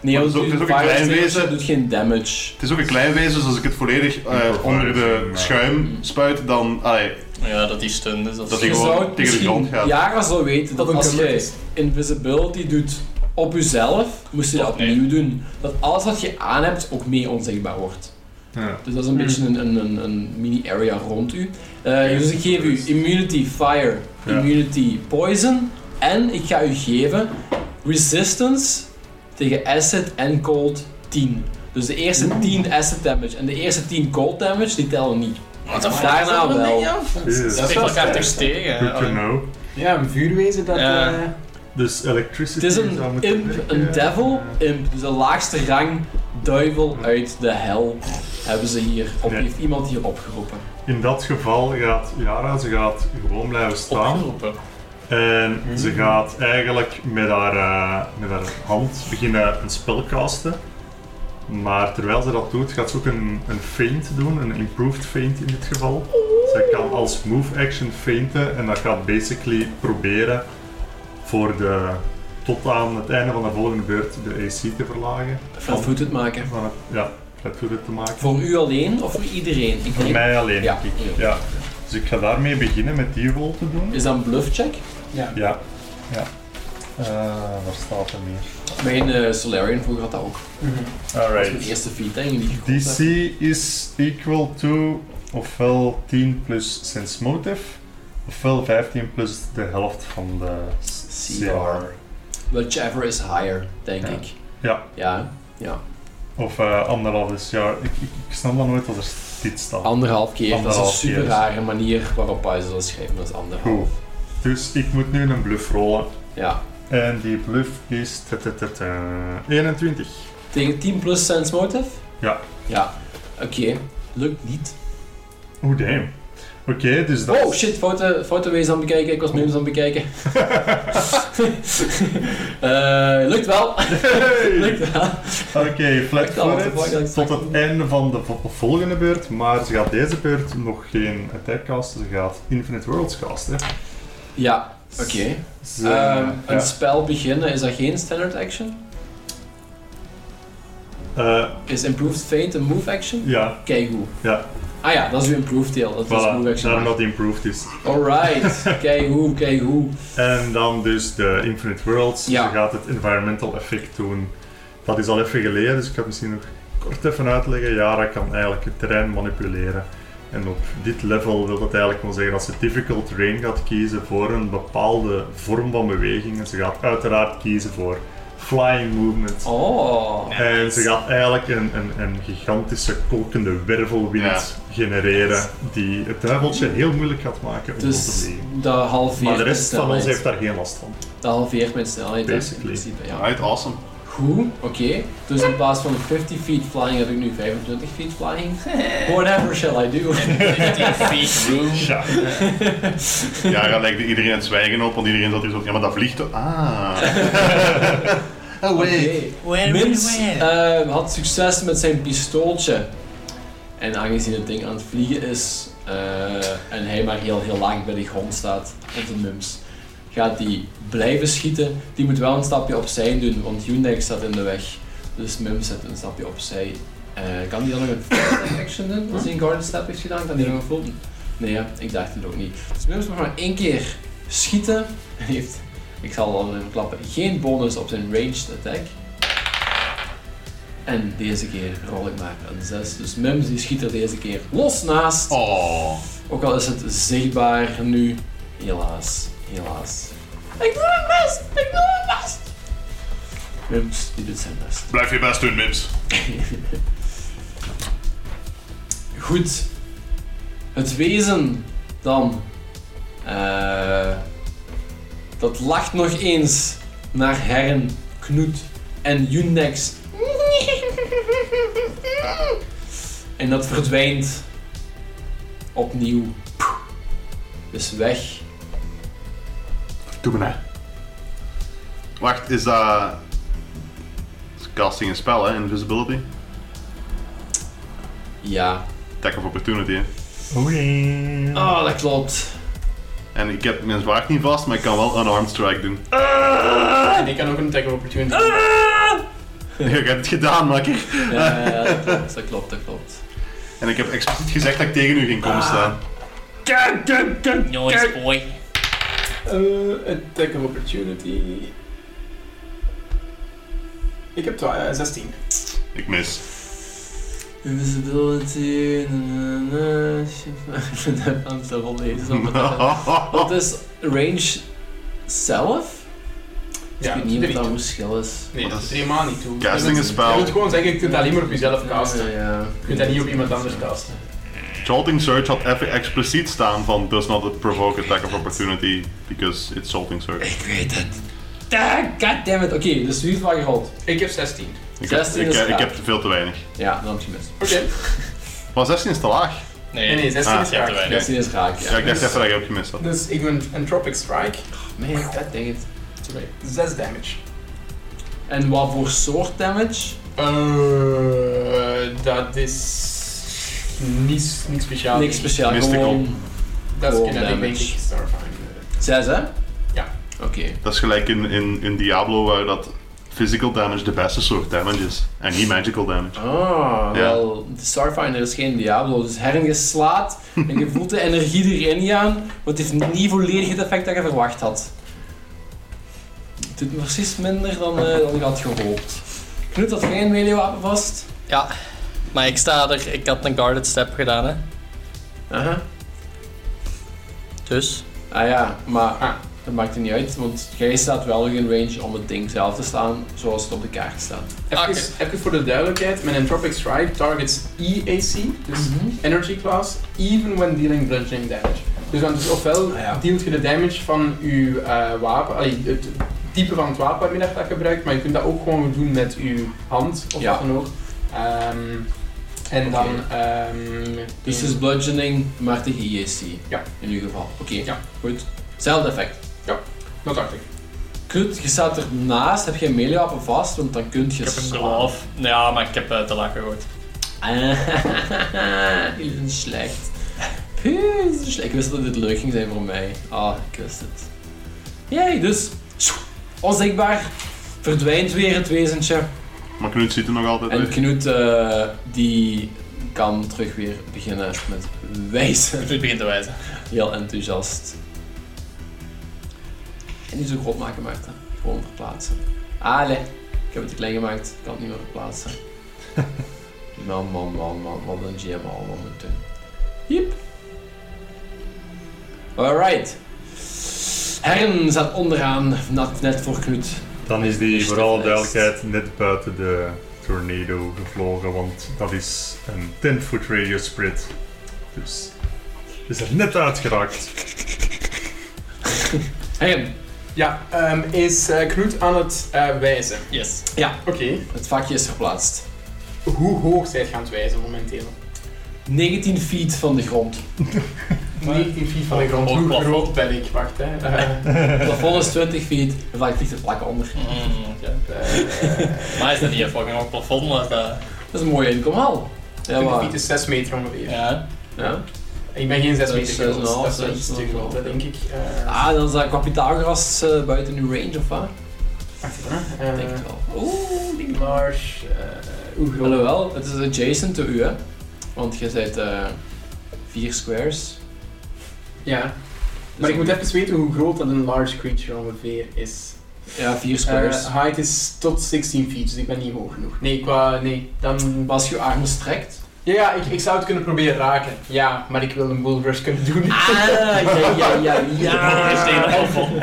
[SPEAKER 1] nee,
[SPEAKER 4] Maar
[SPEAKER 1] want
[SPEAKER 4] het is ook- het is ook een
[SPEAKER 1] fire
[SPEAKER 4] klein
[SPEAKER 1] extinguisher
[SPEAKER 4] wezen.
[SPEAKER 1] doet geen damage.
[SPEAKER 4] Het is ook een klein wezen, dus als ik het volledig eh,
[SPEAKER 3] Ja,
[SPEAKER 4] onder de
[SPEAKER 3] maar-
[SPEAKER 4] schuim spuit, dan. Allee,
[SPEAKER 5] Ja, dat die stun dus. Dat,
[SPEAKER 4] Dat
[SPEAKER 5] is
[SPEAKER 4] die
[SPEAKER 1] Je
[SPEAKER 4] gewoon
[SPEAKER 1] zou
[SPEAKER 4] tegen de
[SPEAKER 1] misschien
[SPEAKER 4] grond gaat.
[SPEAKER 1] Jaren zou weten dat
[SPEAKER 2] Dat een
[SPEAKER 1] als
[SPEAKER 2] cover
[SPEAKER 1] je
[SPEAKER 2] is.
[SPEAKER 1] invisibility doet op jezelf, moest je dat
[SPEAKER 5] Of nee.
[SPEAKER 1] opnieuw doen. Dat alles wat je aan hebt ook mee onzichtbaar wordt.
[SPEAKER 3] Ja.
[SPEAKER 1] Dus dat is een
[SPEAKER 2] Hmm.
[SPEAKER 1] beetje een, een, een, een mini-area rond u. Eh, dus ik geef u immunity fire,
[SPEAKER 3] Ja.
[SPEAKER 1] immunity poison. En ik ga u geven resistance tegen acid en cold 10. Dus de eerste 10 acid damage en de eerste 10 cold damage, die tellen niet.
[SPEAKER 5] Wat
[SPEAKER 1] de fuck is dat voor een ding,
[SPEAKER 3] Jezus.
[SPEAKER 5] Dat
[SPEAKER 2] wel
[SPEAKER 5] spreekt elkaar
[SPEAKER 2] sterk.
[SPEAKER 5] dus
[SPEAKER 1] Eh,
[SPEAKER 3] Good to
[SPEAKER 5] tegen.
[SPEAKER 3] know.
[SPEAKER 2] Ja, een vuurwezen dat...
[SPEAKER 5] Ja.
[SPEAKER 2] eh,
[SPEAKER 3] Dus
[SPEAKER 1] Het
[SPEAKER 3] electricity
[SPEAKER 1] is een
[SPEAKER 3] zou moeten
[SPEAKER 1] imp,
[SPEAKER 3] werken.
[SPEAKER 1] een devil imp. Dus de laagste rang duivel uit de hel hebben ze hier, op,
[SPEAKER 3] Nee.
[SPEAKER 1] heeft iemand hier opgeroepen.
[SPEAKER 3] In dat geval gaat Yara, ze gaat gewoon blijven staan.
[SPEAKER 5] Opgeroepen.
[SPEAKER 3] En
[SPEAKER 1] Hmm.
[SPEAKER 3] ze gaat eigenlijk met haar, eh, met haar hand beginnen een spel casten. Maar terwijl ze dat doet, gaat ze ook een, een feint doen, een improved feint in dit geval. Zij kan als move action feinten en dat gaat basically proberen voor de, tot aan het einde van de volgende beurt de AC te verlagen.
[SPEAKER 1] Flatfooted maken.
[SPEAKER 3] Van het, ja, flatfooted te maken.
[SPEAKER 1] Voor u alleen of voor iedereen? Ik
[SPEAKER 3] Voor
[SPEAKER 1] neem-
[SPEAKER 3] mij alleen,
[SPEAKER 1] Ja.
[SPEAKER 3] denk ik. Ja. Dus ik ga daarmee beginnen met die rol te doen.
[SPEAKER 1] Is dat een bluffcheck?
[SPEAKER 2] ja.
[SPEAKER 3] Ja. ja. Eh waar staat er meer?
[SPEAKER 1] Mijn eh, Solarian vroeger had dat ook.
[SPEAKER 2] Mhm.
[SPEAKER 1] Dat was
[SPEAKER 3] Alright.
[SPEAKER 1] mijn eerste feeding die ik gekocht
[SPEAKER 3] DC
[SPEAKER 1] heb.
[SPEAKER 3] is equal to ofwel 10 plus sense motive, ofwel 15 plus de helft van de s-
[SPEAKER 1] CR.
[SPEAKER 3] CR.
[SPEAKER 1] Whichever is higher, denk
[SPEAKER 3] Ja.
[SPEAKER 1] ik.
[SPEAKER 3] Ja.
[SPEAKER 1] Ja,
[SPEAKER 3] Of eh anderhalve CR. Ik, ik, ik snap dat nooit als er dit staat.
[SPEAKER 1] anderhalf keer. dat
[SPEAKER 3] Anderhalf
[SPEAKER 1] is een
[SPEAKER 3] keer
[SPEAKER 1] super
[SPEAKER 3] is-
[SPEAKER 1] rare manier waarop hij ze dat schrijven. Dat is anderhalf.
[SPEAKER 3] Goed. Dus ik moet nu een bluff rollen.
[SPEAKER 1] Ja.
[SPEAKER 3] En die bluff is ta- ta- ta- ta, 21.
[SPEAKER 1] Tegen 10 plus sense motive?
[SPEAKER 3] Ja.
[SPEAKER 1] Ja. Oké. Lukt niet.
[SPEAKER 3] Oh damn. Oké, dus dat
[SPEAKER 1] Oh
[SPEAKER 3] is-
[SPEAKER 1] shit, foute, foute wees aan het bekijken. Ik was memes aan het bekijken. Eh, lukt wel.
[SPEAKER 3] Hey!
[SPEAKER 1] lukt wel.
[SPEAKER 3] Oké,
[SPEAKER 1] Ik dacht,
[SPEAKER 3] flatfooted
[SPEAKER 1] wat de fuck, dat
[SPEAKER 3] tot
[SPEAKER 1] is-
[SPEAKER 3] het einde van de vo- volgende beurt, maar ze gaat deze beurt nog geen attack casten, ze gaat Infinite Worlds casten.
[SPEAKER 1] Ja, oké.
[SPEAKER 3] Ze, eh,
[SPEAKER 1] Ehm,
[SPEAKER 3] ja.
[SPEAKER 1] Een spel beginnen, is dat geen standard action?
[SPEAKER 3] Eh,
[SPEAKER 1] Is improved fate een move action?
[SPEAKER 3] ja,
[SPEAKER 1] Kijk hoe.
[SPEAKER 3] Ja.
[SPEAKER 1] Ah ja, dat is uw improved deel. Dat is
[SPEAKER 3] voilà,
[SPEAKER 1] move
[SPEAKER 3] daarom
[SPEAKER 1] action.
[SPEAKER 3] dat die improved is.
[SPEAKER 1] Alright, kijk hoe, kijk hoe.
[SPEAKER 3] En dan dus de Infinite Worlds,
[SPEAKER 1] Ja.
[SPEAKER 3] ze gaat het environmental effect doen. Dat is al even geleden, dus ik kan het misschien nog kort even uitleggen. Yara kan eigenlijk het terrein manipuleren. En op dit level wil dat eigenlijk wel zeggen dat ze difficult terrain gaat kiezen voor een bepaalde vorm van beweging. En ze gaat uiteraard kiezen voor flying movement.
[SPEAKER 1] Oh.
[SPEAKER 3] En ze gaat eigenlijk een, een, een gigantische kolkende wervelwind
[SPEAKER 4] Ja.
[SPEAKER 3] genereren die het duiveltje heel moeilijk gaat maken om rond te
[SPEAKER 1] Dus
[SPEAKER 3] vliegen.
[SPEAKER 1] de halveert
[SPEAKER 3] Maar de
[SPEAKER 1] mijn
[SPEAKER 3] rest van ons
[SPEAKER 1] snelheid.
[SPEAKER 3] heeft daar geen last van.
[SPEAKER 1] De halveert mijn snelheid, hè, in
[SPEAKER 3] Basically.
[SPEAKER 1] principe. Ja.
[SPEAKER 4] Right, awesome.
[SPEAKER 1] Goed, oké. Dus in plaats van 50 feet flying heb ik nu 25 feet flying. Whatever shall I do?
[SPEAKER 5] 15 feet room.
[SPEAKER 3] Ja.
[SPEAKER 4] Ja, dan legde iedereen het zwijgen op, want iedereen zat hier zo. Ja, maar dat vliegt toch? Ah. oh,
[SPEAKER 1] Oké.
[SPEAKER 4] wait.
[SPEAKER 5] Where,
[SPEAKER 1] Mins eh, had succes met zijn pistooltje. En aangezien het ding aan het vliegen is eh, en hij maar heel, heel laag bij de grond staat, op de mums, gaat hij blijven schieten. Die moet wel een stapje opzij doen, want Hyundai staat in de weg. Dus Mums zet een stapje opzij. Eh, kan die dan nog een full action doen? Als hij een Garden Step heeft gedaan, kan die nog een full doen? Nee, ja, ik dacht het ook niet. Dus Mums mag maar één keer schieten. En heeft, ik zal al even klappen, geen bonus op zijn ranged attack. En deze keer rol ik maar een 6. Dus Mims die schiet er deze keer los naast.
[SPEAKER 4] Oh.
[SPEAKER 1] Ook al is het zichtbaar nu. Helaas, helaas. Ik doe mijn best! Ik doe mijn best! Mims die doet zijn best.
[SPEAKER 4] Blijf je best doen, Mims.
[SPEAKER 1] Goed. Het wezen dan. eh, dat lacht nog eens naar Herren, Knoet en Jundex. En dat verdwijnt opnieuw. Dus weg.
[SPEAKER 4] Doe me na. Wacht, is dat. is casting een spel, hè? Invisibility?
[SPEAKER 1] Ja.
[SPEAKER 4] Attack of opportunity, hè?
[SPEAKER 3] Oei.
[SPEAKER 1] Oh, dat klopt.
[SPEAKER 4] En ik heb mijn zwaard niet vast, maar ik kan wel unarmed strike doen.
[SPEAKER 2] Ah. En ik kan ook een attack of opportunity.
[SPEAKER 4] Je hebt het gedaan, makker.
[SPEAKER 1] Ja, ja, dat klopt, dat klopt, dat klopt.
[SPEAKER 4] En ik heb expliciet gezegd dat ik tegen u ging komen staan.
[SPEAKER 5] Noise boy.
[SPEAKER 2] Eh, attack of opportunity. Ik heb twa- eh, 16.
[SPEAKER 4] Ik mis.
[SPEAKER 1] Invisibility, na, na, na, shit. Ik ben aan het rollen. Wat is range zelf? Dus
[SPEAKER 2] Ja,
[SPEAKER 1] ik weet niet
[SPEAKER 2] drie.
[SPEAKER 1] of dat een verschil is.
[SPEAKER 2] Nee, dat is
[SPEAKER 4] Dat is-
[SPEAKER 2] helemaal niet toe.
[SPEAKER 4] Casting
[SPEAKER 2] Je
[SPEAKER 4] een
[SPEAKER 2] moet-
[SPEAKER 4] spel.
[SPEAKER 2] Je moet gewoon zeggen, je kunt dat alleen maar op jezelf
[SPEAKER 1] Ja,
[SPEAKER 2] casten.
[SPEAKER 1] ja.
[SPEAKER 2] Je kunt dat niet op iemand anders casten.
[SPEAKER 4] Jolting Surge had even expliciet staan van does not provoke attack of opportunity because it's Jolting Surge.
[SPEAKER 1] Ik weet het. Ah, Goddammit, oké, dus wie heeft wat gerold?
[SPEAKER 2] Ik heb 16.
[SPEAKER 4] Ik heb,
[SPEAKER 1] 16
[SPEAKER 4] ik,
[SPEAKER 1] is
[SPEAKER 4] ik
[SPEAKER 1] raar.
[SPEAKER 4] heb veel te weinig.
[SPEAKER 1] Ja, dan heb je mis.
[SPEAKER 2] Oké.
[SPEAKER 4] Maar 16 is te laag.
[SPEAKER 5] Nee,
[SPEAKER 2] Nee, nee, 16
[SPEAKER 4] Ah,
[SPEAKER 2] is
[SPEAKER 5] je hebt er
[SPEAKER 2] raak.
[SPEAKER 5] weinig.
[SPEAKER 1] 16 is raak, ja.
[SPEAKER 4] Ja, ik dacht even dat je hebt gemist had.
[SPEAKER 2] Dus ik doe een Entropic Strike.
[SPEAKER 1] Man, god dang it.
[SPEAKER 2] 6 damage.
[SPEAKER 1] En wat voor soort damage?
[SPEAKER 2] Eh, dat is... Niets, niks speciaal.
[SPEAKER 1] Niks speciaal,
[SPEAKER 4] mystical.
[SPEAKER 1] gewoon
[SPEAKER 2] Dat is
[SPEAKER 1] Gewoon
[SPEAKER 2] kinetic, denk
[SPEAKER 1] damage.
[SPEAKER 2] ik, Starfire.
[SPEAKER 1] 6 hè?
[SPEAKER 2] Ja.
[SPEAKER 1] Oké.
[SPEAKER 4] Dat is gelijk in, in, in Diablo waar dat physical damage de beste soort damage is. En niet magical damage.
[SPEAKER 1] Ah,
[SPEAKER 4] Ja.
[SPEAKER 1] wel, de Starfinder is geen Diablo, dus Herren je slaat en je voelt de energie erin gaan, maar het heeft niet volledig het effect dat je verwacht had. Het doet precies minder dan, eh, dan je had gehoopt. Knut, dat jij een melee-wapen vast?
[SPEAKER 5] Ja, maar ik sta er. Ik had een guarded step gedaan, hè.
[SPEAKER 1] Aha.
[SPEAKER 5] Dus.
[SPEAKER 1] Ah ja, maar
[SPEAKER 2] Ah.
[SPEAKER 1] dat maakt het niet uit, want jij staat wel in range om het ding zelf te slaan zoals het op de kaart staat.
[SPEAKER 2] Even,
[SPEAKER 5] Oké.
[SPEAKER 2] even voor de duidelijkheid, mijn Entropic Strike targets EAC, dus Energy Class, even when dealing bludgeoning damage. Dus, dan, dus ofwel
[SPEAKER 1] Ah, ja.
[SPEAKER 2] dealt je de damage van je eh, wapen, allee, het type van het wapen waarmee dat je dat gebruikt, maar je kunt dat ook gewoon doen met je hand of
[SPEAKER 1] Ja.
[SPEAKER 2] wat dan ook. Ehm, en
[SPEAKER 1] Oké.
[SPEAKER 2] dan... ehm,
[SPEAKER 1] Dus het
[SPEAKER 2] in-
[SPEAKER 1] is bludgeoning, maar tegen IAC.
[SPEAKER 2] Ja.
[SPEAKER 1] In ieder geval. Oké,
[SPEAKER 2] Ja.
[SPEAKER 1] goed. Hetzelfde effect.
[SPEAKER 2] dat dacht ik.
[SPEAKER 1] Knut, je staat ernaast, heb je een melee-wapen vast, want dan kun je
[SPEAKER 5] Ik heb een
[SPEAKER 1] slaan.
[SPEAKER 5] glove. Ja, maar ik heb eh, te laag gehoord.
[SPEAKER 1] Ah, jullie zijn slecht. Puh, jullie zijn slecht. Ik wist dat dit leuk ging zijn voor mij. Ah, ik wist het. Jij, dus. Onzichtbaar. Verdwijnt weer het wezentje.
[SPEAKER 4] Maar Knut ziet er nog altijd
[SPEAKER 1] En
[SPEAKER 4] uit.
[SPEAKER 1] Knut, eh, die kan terug weer beginnen met wijzen.
[SPEAKER 5] Het begint te wijzen.
[SPEAKER 1] Heel enthousiast. En niet zo groot maken, Maarten. Gewoon verplaatsen. Ale, ik heb het te klein gemaakt. Ik kan het niet meer verplaatsen. man, man, man, man. Wat een GM allemaal moet doen. Jep. Alright. Herren staat onderaan, net, net voor Knut.
[SPEAKER 3] Dan is die voor
[SPEAKER 5] Initiative
[SPEAKER 3] alle
[SPEAKER 5] is-
[SPEAKER 3] duidelijkheid net buiten de tornado gevlogen, want dat is een 10 foot radius spread. Dus is er net uitgeraakt.
[SPEAKER 1] Hem,
[SPEAKER 2] Ja, ehm, is eh, Knut aan het eh, wijzen?
[SPEAKER 5] Yes.
[SPEAKER 2] Oké.
[SPEAKER 1] het vakje is geplaatst.
[SPEAKER 2] Hoe hoog zijt gaan het wijzen momenteel?
[SPEAKER 1] 19 feet van de grond.
[SPEAKER 2] 19 feet van de grond.
[SPEAKER 5] Hoog
[SPEAKER 2] Hoe
[SPEAKER 5] plafond.
[SPEAKER 2] groot Oh, ben ik? Wacht, hè. Eh,
[SPEAKER 1] Het plafond is 20 feet, en vlak ligt er plak onder.
[SPEAKER 5] Mm, ja.
[SPEAKER 2] eh,
[SPEAKER 5] Maar is dat niet een fucking hoog plafond? Maar dat,
[SPEAKER 1] Dat is een mooie inkomhal. Ja,
[SPEAKER 2] 20
[SPEAKER 1] maar.
[SPEAKER 2] feet is 6 meter ongeveer.
[SPEAKER 5] ja.
[SPEAKER 1] Ja.
[SPEAKER 2] Ik ben geen 6
[SPEAKER 1] Dat is
[SPEAKER 2] meter
[SPEAKER 1] zes en
[SPEAKER 2] groot,
[SPEAKER 1] een half,
[SPEAKER 2] dat is wel
[SPEAKER 1] zes
[SPEAKER 2] iets
[SPEAKER 1] en
[SPEAKER 2] te
[SPEAKER 1] een
[SPEAKER 2] groot,
[SPEAKER 1] half.
[SPEAKER 2] hè, denk ik. Eh,
[SPEAKER 1] Ah, dan is dat qua Pythagoras eh, buiten uw range of wat?
[SPEAKER 2] Wacht even, hè.
[SPEAKER 1] Ik
[SPEAKER 2] Eh,
[SPEAKER 1] denk het wel. Oeh, die-
[SPEAKER 2] Marsh, eh, hoe groot?
[SPEAKER 1] Alhoewel, het is adjacent to u, hè? Want je bent eh vier squares.
[SPEAKER 2] Ja,
[SPEAKER 1] Dus
[SPEAKER 2] maar ik moet even weten hoe groot dat een large creature ongeveer is.
[SPEAKER 1] Ja, vier squares.
[SPEAKER 2] Eh height is tot 16 feet, dus ik ben niet hoog genoeg. Nee, qua... Nee, dan...
[SPEAKER 1] Maar als je je armen strekt.
[SPEAKER 2] Ja, ja ik, ik zou het kunnen proberen raken. Ja, maar ik wil een bull rush kunnen doen.
[SPEAKER 1] Ah, ja, ja, ja,
[SPEAKER 5] Dat is tegen
[SPEAKER 1] ja.
[SPEAKER 5] de plafond.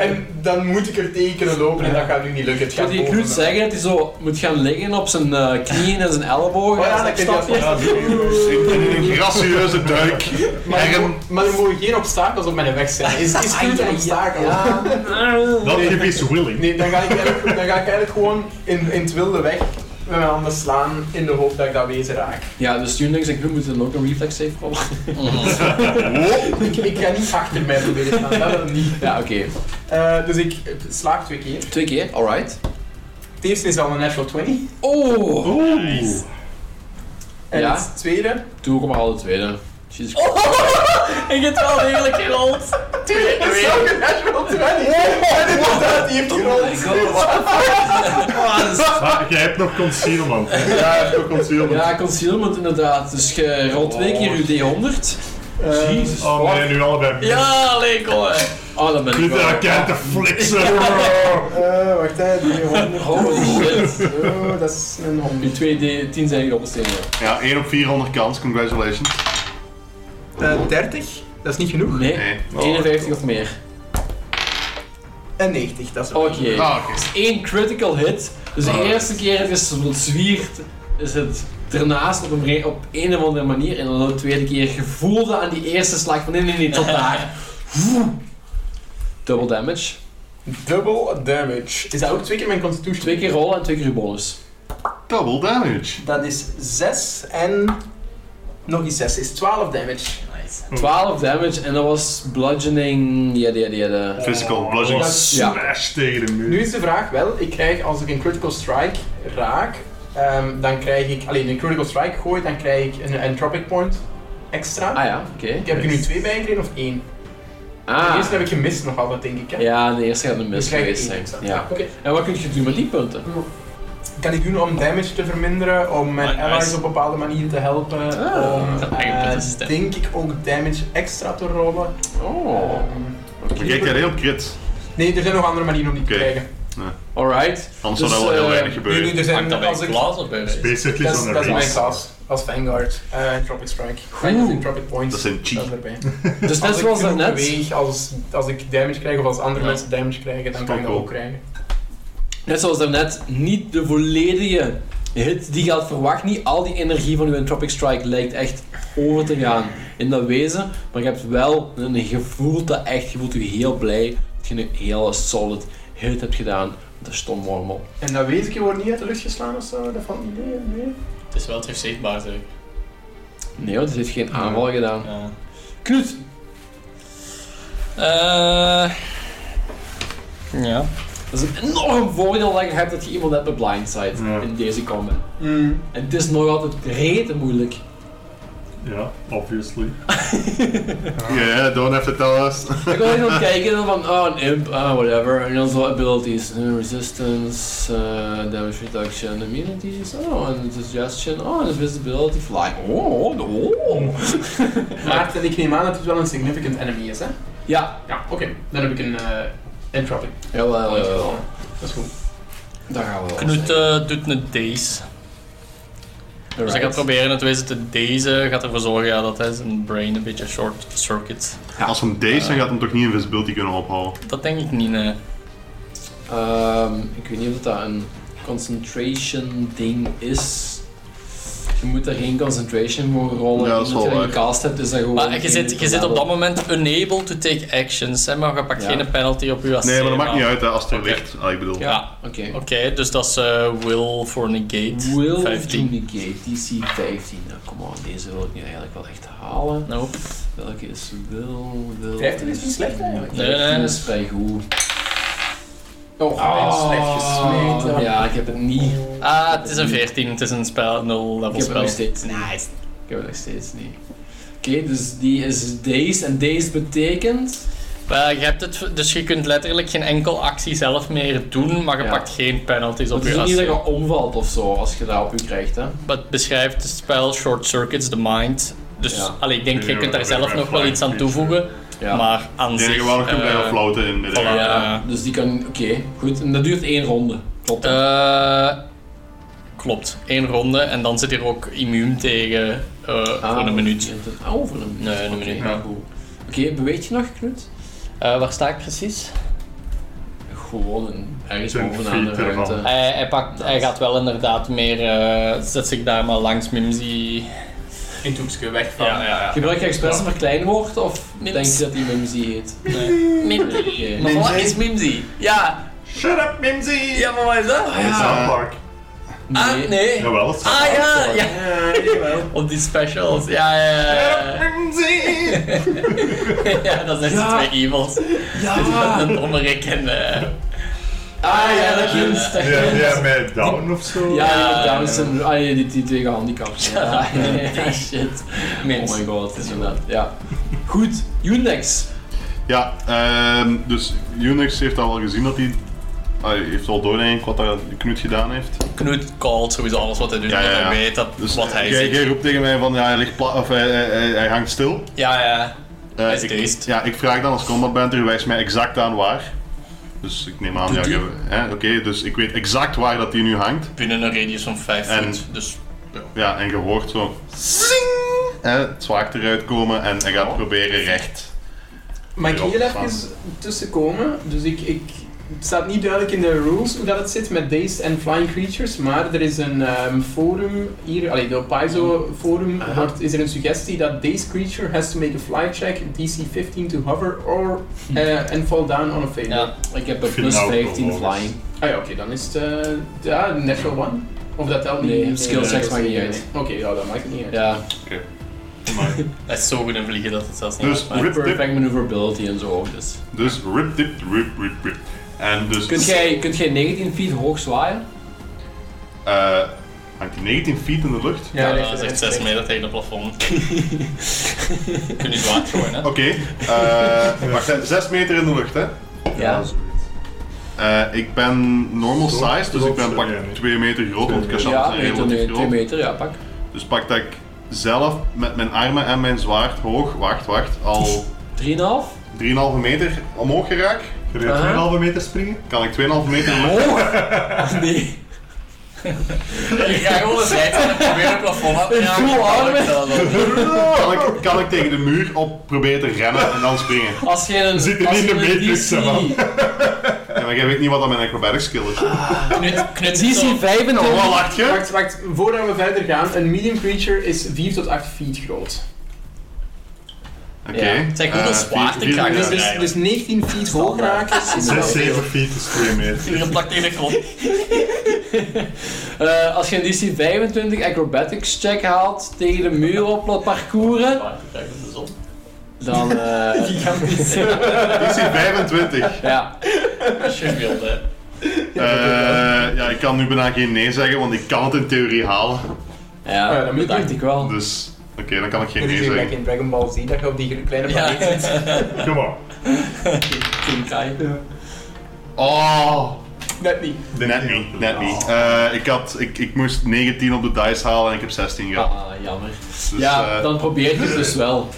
[SPEAKER 2] En dan moet ik er tegen kunnen lopen en dat gaat nu niet lukken. Het
[SPEAKER 1] Ik moet
[SPEAKER 2] gaat
[SPEAKER 1] die
[SPEAKER 2] boven
[SPEAKER 1] Knut
[SPEAKER 2] me.
[SPEAKER 1] zeggen dat hij zo moet gaan liggen op zijn eh, knieën en zijn ellebogen.
[SPEAKER 2] Oh ja,
[SPEAKER 1] als
[SPEAKER 2] dat kan
[SPEAKER 1] stapje.
[SPEAKER 2] je
[SPEAKER 4] Ja, die- ik ben in een gracieuze duik.
[SPEAKER 2] Maar, er
[SPEAKER 4] Erm.
[SPEAKER 2] mo- maar er mogen geen obstakels op mijn weg zijn. Is, is Knut een obstakel?
[SPEAKER 1] Ja.
[SPEAKER 3] Dat
[SPEAKER 2] Nee.
[SPEAKER 3] hip is willing.
[SPEAKER 2] Nee, dan ga ik eigenlijk, dan ga ik eigenlijk gewoon in, in het wilde weg met mijn handen slaan in de hoop dat ik dat wezen raak.
[SPEAKER 1] ja, dus Junlings en Knut moeten ook een reflex save rollen.
[SPEAKER 5] Mm.
[SPEAKER 4] Wow.
[SPEAKER 2] Ik, ik ga niet achter mij proberen te staan, dat wil ik niet.
[SPEAKER 1] Ja, oké.
[SPEAKER 2] Eh, dus ik slaag twee keer.
[SPEAKER 1] Twee keer, alright.
[SPEAKER 2] Het eerste is al een natural 20.
[SPEAKER 1] Oh!
[SPEAKER 3] Oeh.
[SPEAKER 2] En
[SPEAKER 1] Ja.
[SPEAKER 2] het tweede...
[SPEAKER 1] Doe ik maar al de tweede. Jesus
[SPEAKER 2] Oh,
[SPEAKER 5] Ik heb het wel degelijk gerold.
[SPEAKER 2] Tweede is ook een natural 20! En inderdaad, die heeft
[SPEAKER 1] Oh my god,
[SPEAKER 2] gerold.
[SPEAKER 1] what the fuck? Oh, dat is-
[SPEAKER 3] Maar jij hebt nog concealment. hè?
[SPEAKER 4] Ja, hij heeft ook concealment.
[SPEAKER 1] Ja, concealment inderdaad. Dus je rolt twee keer uw D100.
[SPEAKER 2] Eh,
[SPEAKER 3] Jezus. Oh nee, nu allebei.
[SPEAKER 5] Ja, leek hoor.
[SPEAKER 1] Oh, dat ben ik
[SPEAKER 3] Knut
[SPEAKER 1] wel.
[SPEAKER 3] aan elkaar te flitsen.
[SPEAKER 2] eh, wacht hè, 300.
[SPEAKER 1] Holy shit.
[SPEAKER 2] Oh, dat is een
[SPEAKER 1] Uw
[SPEAKER 2] 100.
[SPEAKER 1] twee D10 zijn gerobbelstenen.
[SPEAKER 4] Ja, 1 op 400 kans, congratulations.
[SPEAKER 2] Eh, 30, dat is niet genoeg.
[SPEAKER 1] Nee,
[SPEAKER 4] Nee.
[SPEAKER 1] 51 of meer.
[SPEAKER 2] En 90, dat is
[SPEAKER 1] Oké.
[SPEAKER 4] Ah, oké.
[SPEAKER 1] Eén critical hit. Dus de
[SPEAKER 4] Ah.
[SPEAKER 1] eerste keer het is zwiert, is het ernaast op een, re- op een of andere manier. En dan de tweede keer gevoelde aan die eerste slag van nee, nee, nee, tot daar. Woe. Double damage.
[SPEAKER 2] Double damage. Is dat ook twee keer mijn constitution?
[SPEAKER 1] Twee keer rollen en twee keer uw bonus.
[SPEAKER 4] Double damage.
[SPEAKER 2] Dat is 6 en nog eens 6 is 12 damage.
[SPEAKER 5] Nice.
[SPEAKER 1] 12 damage en dat was bludgeoning. Ja, ja, ja.
[SPEAKER 4] Physical
[SPEAKER 3] Oh,
[SPEAKER 4] bludgeoning.
[SPEAKER 1] Ja.
[SPEAKER 3] Smash tegen de muur.
[SPEAKER 2] Nu is de vraag wel, ik krijg als ik een critical strike raak, ehm, dan krijg ik, alleen een critical strike gooi, dan krijg ik een entropic point extra.
[SPEAKER 1] Ah ja, oké.
[SPEAKER 2] Ik heb er nu twee bij gekregen of één? De
[SPEAKER 1] Ah.
[SPEAKER 2] eerste heb ik gemist nog altijd denk ik hè.
[SPEAKER 1] Ja, de eerste gaat een
[SPEAKER 2] Dus
[SPEAKER 1] mis
[SPEAKER 2] krijg ik
[SPEAKER 1] geweest
[SPEAKER 2] één
[SPEAKER 1] zijn.
[SPEAKER 2] extra.
[SPEAKER 1] Ja.
[SPEAKER 2] Oké.
[SPEAKER 1] En wat kun je doen met die punten?
[SPEAKER 2] Kan ik doen om damage te verminderen, om mijn
[SPEAKER 5] Nice.
[SPEAKER 2] allies op bepaalde manieren te helpen,
[SPEAKER 1] Ah.
[SPEAKER 2] om
[SPEAKER 5] Dat eigen
[SPEAKER 2] eh,
[SPEAKER 5] puntensysteem.
[SPEAKER 2] denk ik ook damage extra te rollen.
[SPEAKER 1] Oh.
[SPEAKER 2] Ehm,
[SPEAKER 4] Maar jij krijgt heel crit.
[SPEAKER 2] nee, er zijn nog andere manieren om die te
[SPEAKER 4] Oké.
[SPEAKER 2] krijgen.
[SPEAKER 1] Alright.
[SPEAKER 4] Anders
[SPEAKER 1] Dus,
[SPEAKER 4] zou dat wel heel
[SPEAKER 1] eh,
[SPEAKER 4] weinig
[SPEAKER 2] Nu,
[SPEAKER 4] gebeuren.
[SPEAKER 2] nu, er zijn,
[SPEAKER 5] Hangt dat bij
[SPEAKER 2] als
[SPEAKER 5] een
[SPEAKER 2] ik,
[SPEAKER 5] glas of bij een-
[SPEAKER 3] Basically
[SPEAKER 2] dat, is-
[SPEAKER 3] on
[SPEAKER 2] dat is
[SPEAKER 3] a
[SPEAKER 2] mijn
[SPEAKER 3] race.
[SPEAKER 2] klas, als Vanguard. Eh Tropic Strike. Fijn, dat is een Tropic Points.
[SPEAKER 4] Dat zijn chi.
[SPEAKER 2] Dat is erbij.
[SPEAKER 1] Dus net
[SPEAKER 2] Als ik
[SPEAKER 1] zoals
[SPEAKER 2] genoeg
[SPEAKER 1] daarnet,
[SPEAKER 2] beweeg, als, als ik damage krijg of als andere
[SPEAKER 5] Ja.
[SPEAKER 2] mensen damage krijgen, dan
[SPEAKER 4] Dat
[SPEAKER 2] kan
[SPEAKER 4] is
[SPEAKER 2] ik dat
[SPEAKER 4] wel
[SPEAKER 2] ook
[SPEAKER 4] cool.
[SPEAKER 2] krijgen.
[SPEAKER 1] net zoals daarnet, niet de volledige hit die je had verwacht. Niet al die energie van uw Entropic Strike lijkt echt over te gaan in dat wezen. Maar je hebt wel een gevoel dat echt, je voelt je heel blij dat je een hele solid hit hebt gedaan. met Dat stomwormel.
[SPEAKER 2] En dat weet ik, je wordt niet uit de lucht geslaan of zo, dat valt niet mee. nee.
[SPEAKER 5] Het is wel terugzichtbaar zeg.
[SPEAKER 1] Nee hoor, dit heeft geen aanval gedaan.
[SPEAKER 5] Ja.
[SPEAKER 1] Knut,
[SPEAKER 5] Eh. ja.
[SPEAKER 1] dat is een enorm voordeel dat je hebt dat je iemand hebt met blindside
[SPEAKER 3] Ja.
[SPEAKER 1] in deze combat.
[SPEAKER 2] Mm.
[SPEAKER 1] En het is nog altijd rete moeilijk.
[SPEAKER 3] Ja, obviously.
[SPEAKER 4] Yeah, don't have to tell us.
[SPEAKER 1] Ik was even aan het kijken en dan van, oh een imp, ah whatever. En dan zo abilities, eh, resistance, eh, damage reduction, immunities, oh, en suggestion, oh, en invisibility, fly. Oh, oh.
[SPEAKER 2] Maarten, ik neem aan dat het wel een significant enemy is, hè?
[SPEAKER 1] Ja,
[SPEAKER 2] Ja, oké. Dan heb ik een eh entropic
[SPEAKER 1] jawel,
[SPEAKER 2] point
[SPEAKER 1] jawel, jawel.
[SPEAKER 2] gevallen. Dat is goed.
[SPEAKER 1] Daar gaan we wel.
[SPEAKER 5] Knut
[SPEAKER 1] zijn.
[SPEAKER 5] eh, doet een daze. Dus hij gaat
[SPEAKER 1] Alright.
[SPEAKER 5] proberen het wezen te dazen. Gaat ervoor zorgen ja, dat hij zijn brain een beetje short circuit.
[SPEAKER 4] Als hem deze, dan gaat hem toch niet invisibility kunnen ophouden.
[SPEAKER 5] Dat denk ik niet, nee.
[SPEAKER 1] Ehm, ik weet niet of dat een concentration ding is. Je moet daar geen concentration voor rollen.
[SPEAKER 4] Ja, dat is
[SPEAKER 1] Omdat
[SPEAKER 4] wel
[SPEAKER 1] je dat
[SPEAKER 4] waar.
[SPEAKER 1] gecast hebt, is dat gewoon...
[SPEAKER 5] Maar je
[SPEAKER 1] geen
[SPEAKER 5] zit, je zit op
[SPEAKER 1] level.
[SPEAKER 5] dat moment unable to take actions, hè, maar je pakt
[SPEAKER 1] Ja.
[SPEAKER 5] geen penalty op je AC.
[SPEAKER 4] Nee, maar dat maakt niet
[SPEAKER 5] maar-
[SPEAKER 4] uit hè, als het er
[SPEAKER 5] Oké.
[SPEAKER 4] ligt. Ah, ik bedoel.
[SPEAKER 5] Ja,
[SPEAKER 1] Oké.
[SPEAKER 5] oké, dus dat is eh, will for negate.
[SPEAKER 1] Will
[SPEAKER 5] 15.
[SPEAKER 1] to negate DC 15. Nou, kom on, deze wil ik nu eigenlijk wel echt halen.
[SPEAKER 5] Nope.
[SPEAKER 1] Welke is Will? Will
[SPEAKER 2] 15 is niet slecht, eigenlijk.
[SPEAKER 1] Nee, nee,
[SPEAKER 5] Nee.
[SPEAKER 1] dat is vrij goed.
[SPEAKER 2] Oh, slecht gesmeten.
[SPEAKER 1] Ja, ik heb het niet.
[SPEAKER 5] Ah, het is een 14, het is een spel, nul
[SPEAKER 1] Ik
[SPEAKER 5] level
[SPEAKER 1] heb het nog
[SPEAKER 5] spel.
[SPEAKER 1] steeds niet. Ik heb het nog steeds niet. Oké, dus die is dazed. En dazed betekent...
[SPEAKER 5] Maar je hebt het, dus je kunt letterlijk geen enkel actie zelf meer doen, maar je
[SPEAKER 1] Ja.
[SPEAKER 5] pakt geen penalties op
[SPEAKER 1] Het is ook niet dat
[SPEAKER 5] je AC.
[SPEAKER 1] je omvalt of zo, als je dat op je krijgt, hè.
[SPEAKER 5] Maar het beschrijft het spel Short Circuits the Mind. Dus
[SPEAKER 1] Ja.
[SPEAKER 5] allee, ik denk, je
[SPEAKER 3] Ja,
[SPEAKER 5] kunt daar
[SPEAKER 3] ja,
[SPEAKER 5] zelf
[SPEAKER 3] ja,
[SPEAKER 5] nog wel
[SPEAKER 3] ja,
[SPEAKER 5] iets aan
[SPEAKER 3] ja.
[SPEAKER 5] toevoegen,
[SPEAKER 1] Ja.
[SPEAKER 5] maar aan
[SPEAKER 4] Het
[SPEAKER 5] zich...
[SPEAKER 4] enige waar ik hem
[SPEAKER 5] eh,
[SPEAKER 4] bij wil floten in midden.
[SPEAKER 5] voilà.
[SPEAKER 1] Ja, dus die kan... Oké, goed. En dat duurt één ronde. Klopt. dat?
[SPEAKER 5] Eh, klopt, één ronde en dan zit hij er ook immuun tegen eh,
[SPEAKER 1] Ah,
[SPEAKER 5] voor een minuut.
[SPEAKER 1] Ah, over een minuut.
[SPEAKER 5] Nee, een
[SPEAKER 1] Oké,
[SPEAKER 5] minuut.
[SPEAKER 1] nou, goed. Oké, beweeg je nog, Knut?
[SPEAKER 5] Eh, waar sta ik precies?
[SPEAKER 1] Gewoon een, ergens
[SPEAKER 3] Ten
[SPEAKER 1] bovenaan de
[SPEAKER 3] feet ervan.
[SPEAKER 1] ruimte.
[SPEAKER 5] Hij, hij, pakt, hij
[SPEAKER 1] Nice.
[SPEAKER 5] gaat wel inderdaad meer, eh, zet zich daar maar langs Mimsy.
[SPEAKER 2] In Toekske weg van. eh,
[SPEAKER 5] ja.
[SPEAKER 1] Gebruik je expres een verkleinwoord of
[SPEAKER 5] Mims.
[SPEAKER 1] denk je dat die Mimsy heet?
[SPEAKER 5] Mimsy.
[SPEAKER 1] Oké.
[SPEAKER 5] Maar wat is Mimsy? Ja,
[SPEAKER 4] Shut up, Mimsy!
[SPEAKER 5] ja, maar wat is dat?
[SPEAKER 4] Ja.
[SPEAKER 3] South Park.
[SPEAKER 5] Ah, nee.
[SPEAKER 3] Jawel, het is
[SPEAKER 5] Ah
[SPEAKER 3] South
[SPEAKER 5] ja,
[SPEAKER 3] Park.
[SPEAKER 5] ja. Op die specials, ja, ja, ja.
[SPEAKER 4] Mimsy!
[SPEAKER 5] Ja, dat zijn
[SPEAKER 1] Ja.
[SPEAKER 5] de twee evils.
[SPEAKER 1] Ja!
[SPEAKER 5] Een domme Rick en... eh,
[SPEAKER 1] Ah ja, dat kind. dat
[SPEAKER 3] Ja,
[SPEAKER 1] kind.
[SPEAKER 3] ja, met Down of zo.
[SPEAKER 1] Ja, ja,
[SPEAKER 5] Ja,
[SPEAKER 1] Down syndrome. Ah ja, die, die twee gehandicapt. Ja, ja, shit.
[SPEAKER 5] Mens.
[SPEAKER 1] Oh my god, inderdaad. Ja. Goed, Unix.
[SPEAKER 4] Ja, ehm, dus Unix heeft al wel gezien dat hij. Hij heeft al door eigenlijk wat dat Knut gedaan heeft.
[SPEAKER 5] Knut called sowieso alles wat hij doet,
[SPEAKER 4] Ja,
[SPEAKER 5] want
[SPEAKER 4] ja, ja.
[SPEAKER 5] hij weet dat,
[SPEAKER 4] Dus
[SPEAKER 5] wat hij
[SPEAKER 4] jij,
[SPEAKER 5] ziet.
[SPEAKER 4] jij roept tegen mij van ja, hij, ligt pla- of hij, hij, hij- hij hangt stil.
[SPEAKER 5] Ja, ja.
[SPEAKER 4] Eh,
[SPEAKER 5] Hij is
[SPEAKER 4] ik,
[SPEAKER 5] dazed.
[SPEAKER 4] ja, ik vraag dan als combat banter, wijs mij exact aan waar. Dus ik neem aan, ja, je- hè, oké, dus ik weet exact waar dat hij nu hangt.
[SPEAKER 5] Binnen een radius van 5
[SPEAKER 4] En-
[SPEAKER 5] voet, dus...
[SPEAKER 4] Ja, en je hoort zo. Zing! Hè, het zwaard eruit komen en hij
[SPEAKER 5] Oh.
[SPEAKER 4] gaat proberen recht.
[SPEAKER 2] Mag ik
[SPEAKER 4] Ja,
[SPEAKER 2] hier
[SPEAKER 4] van.
[SPEAKER 2] even tussenkomen? Dus ik, ik, het staat niet duidelijk in de rules hoe dat het zit met dazed en flying creatures, maar er is een ehm, forum hier, allee, de Paizo forum,
[SPEAKER 1] Aha.
[SPEAKER 2] wordt, is er een suggestie dat dazed creature has to make a fly check DC 15 to hover or eh, and fall down on a failure.
[SPEAKER 5] Ja.
[SPEAKER 1] Ik heb een
[SPEAKER 3] Vind
[SPEAKER 1] plus
[SPEAKER 3] nou
[SPEAKER 1] 15
[SPEAKER 3] gewoon.
[SPEAKER 1] flying.
[SPEAKER 2] Ah ja, oké, dan is het eh, ja, natural one. Of dat telt niet?
[SPEAKER 1] Nee, skill checks maakt niet uit.
[SPEAKER 2] nee. Oké, ja, dat maakt het niet uit.
[SPEAKER 1] Ja,
[SPEAKER 5] Hij is zo goed in vliegen dat het zelfs niet
[SPEAKER 4] Dus
[SPEAKER 5] uitmaakt.
[SPEAKER 4] rip dip,
[SPEAKER 1] perfect maneuverability en zo. Dus.
[SPEAKER 4] dus rip dip, rip rip rip. En dus.
[SPEAKER 1] Kunt jij, kunt jij 19 feet hoog zwaaien?
[SPEAKER 4] eh, hangt hij 19 feet in de lucht?
[SPEAKER 5] Ja,
[SPEAKER 2] ligt
[SPEAKER 5] dat
[SPEAKER 2] er
[SPEAKER 5] is echt
[SPEAKER 2] echt
[SPEAKER 5] 6
[SPEAKER 2] slecht.
[SPEAKER 5] meter tegen het plafond. Kun je zwaar gooien, hè?
[SPEAKER 4] Oké, eh, wacht, 6 meter in de lucht, hè?
[SPEAKER 1] Ja.
[SPEAKER 3] zoiets.
[SPEAKER 4] Eh, ik ben normal
[SPEAKER 3] Zo,
[SPEAKER 4] size, dus
[SPEAKER 3] zo,
[SPEAKER 4] ik ben
[SPEAKER 3] zo,
[SPEAKER 4] pak
[SPEAKER 3] ja, nee.
[SPEAKER 4] 2 meter groot, want Kashan
[SPEAKER 1] Ja, meter,
[SPEAKER 4] is
[SPEAKER 1] nee,
[SPEAKER 4] relatief
[SPEAKER 1] 2
[SPEAKER 4] groot.
[SPEAKER 1] meter, ja, pak.
[SPEAKER 4] Dus pak dat ik zelf met mijn armen en mijn zwaard hoog, wacht, wacht, al
[SPEAKER 1] 3,5?
[SPEAKER 4] 3,5 meter omhoog geraak.
[SPEAKER 3] Je gaat
[SPEAKER 1] Aha.
[SPEAKER 3] 2,5 meter springen?
[SPEAKER 4] Kan ik 2,5 meter in de lucht?
[SPEAKER 1] Nee.
[SPEAKER 5] Ik ga gewoon een zijde en probeer het plafond af te
[SPEAKER 1] Een
[SPEAKER 5] raken.
[SPEAKER 1] full arm.
[SPEAKER 4] Kan ik, kan ik tegen de muur op proberen te rennen en dan springen?
[SPEAKER 1] Als je een.
[SPEAKER 3] Zit je
[SPEAKER 1] als
[SPEAKER 3] in
[SPEAKER 1] je
[SPEAKER 3] de
[SPEAKER 1] een
[SPEAKER 3] matrix,
[SPEAKER 1] DC
[SPEAKER 3] hè, man?
[SPEAKER 4] Ja, maar jij weet niet wat dat mijn acrobatic skill is.
[SPEAKER 5] Knut, knut
[SPEAKER 1] Een
[SPEAKER 5] is zo...
[SPEAKER 1] DC 25.
[SPEAKER 4] Oh, wat lacht je?
[SPEAKER 2] Wacht, wacht, voordat we verder gaan, een medium creature is 4 tot 8 feet groot.
[SPEAKER 4] Oké.
[SPEAKER 1] Ja,
[SPEAKER 5] het zijn goede
[SPEAKER 4] eh,
[SPEAKER 5] zwaard
[SPEAKER 4] vier-
[SPEAKER 5] en
[SPEAKER 4] vier-
[SPEAKER 5] kraken.
[SPEAKER 2] Dus,
[SPEAKER 5] Ja,
[SPEAKER 2] dus,
[SPEAKER 5] eigenlijk.
[SPEAKER 2] dus 19 feet hoog raken is wel
[SPEAKER 3] 6,
[SPEAKER 2] veel.
[SPEAKER 3] 7 feet is 2 meter.
[SPEAKER 5] Iedereen plakt tegen de grond.
[SPEAKER 1] Eh, als je een DC 25 acrobatics check haalt tegen de muur op dat parcouren,
[SPEAKER 5] dus
[SPEAKER 1] dan. eh,
[SPEAKER 5] Gigantisch.
[SPEAKER 4] DC 25.
[SPEAKER 1] ja.
[SPEAKER 5] Als je wilt, hè.
[SPEAKER 4] Eh, ja, ik kan nu bijna geen nee zeggen, want ik kan het in theorie halen.
[SPEAKER 1] Ja,
[SPEAKER 2] Ja, dat
[SPEAKER 1] dat
[SPEAKER 2] moet
[SPEAKER 1] dacht
[SPEAKER 2] doen.
[SPEAKER 1] ik wel.
[SPEAKER 4] Dus, oké, dan kan ik geen
[SPEAKER 2] Dit
[SPEAKER 4] nee
[SPEAKER 2] is gelijk
[SPEAKER 4] zeggen.
[SPEAKER 2] in Dragon Ball Z, dat je op die kleine
[SPEAKER 5] Ja.
[SPEAKER 2] planeet zit.
[SPEAKER 3] Come on.
[SPEAKER 4] Oh,
[SPEAKER 2] Net niet.
[SPEAKER 4] net niet, net niet. Eh, ik, had, ik, ik moest 19 op de dice halen en ik heb 16 gehad.
[SPEAKER 1] Ah, jammer.
[SPEAKER 4] Dus,
[SPEAKER 1] ja,
[SPEAKER 4] eh,
[SPEAKER 1] dan probeer je het dus wel.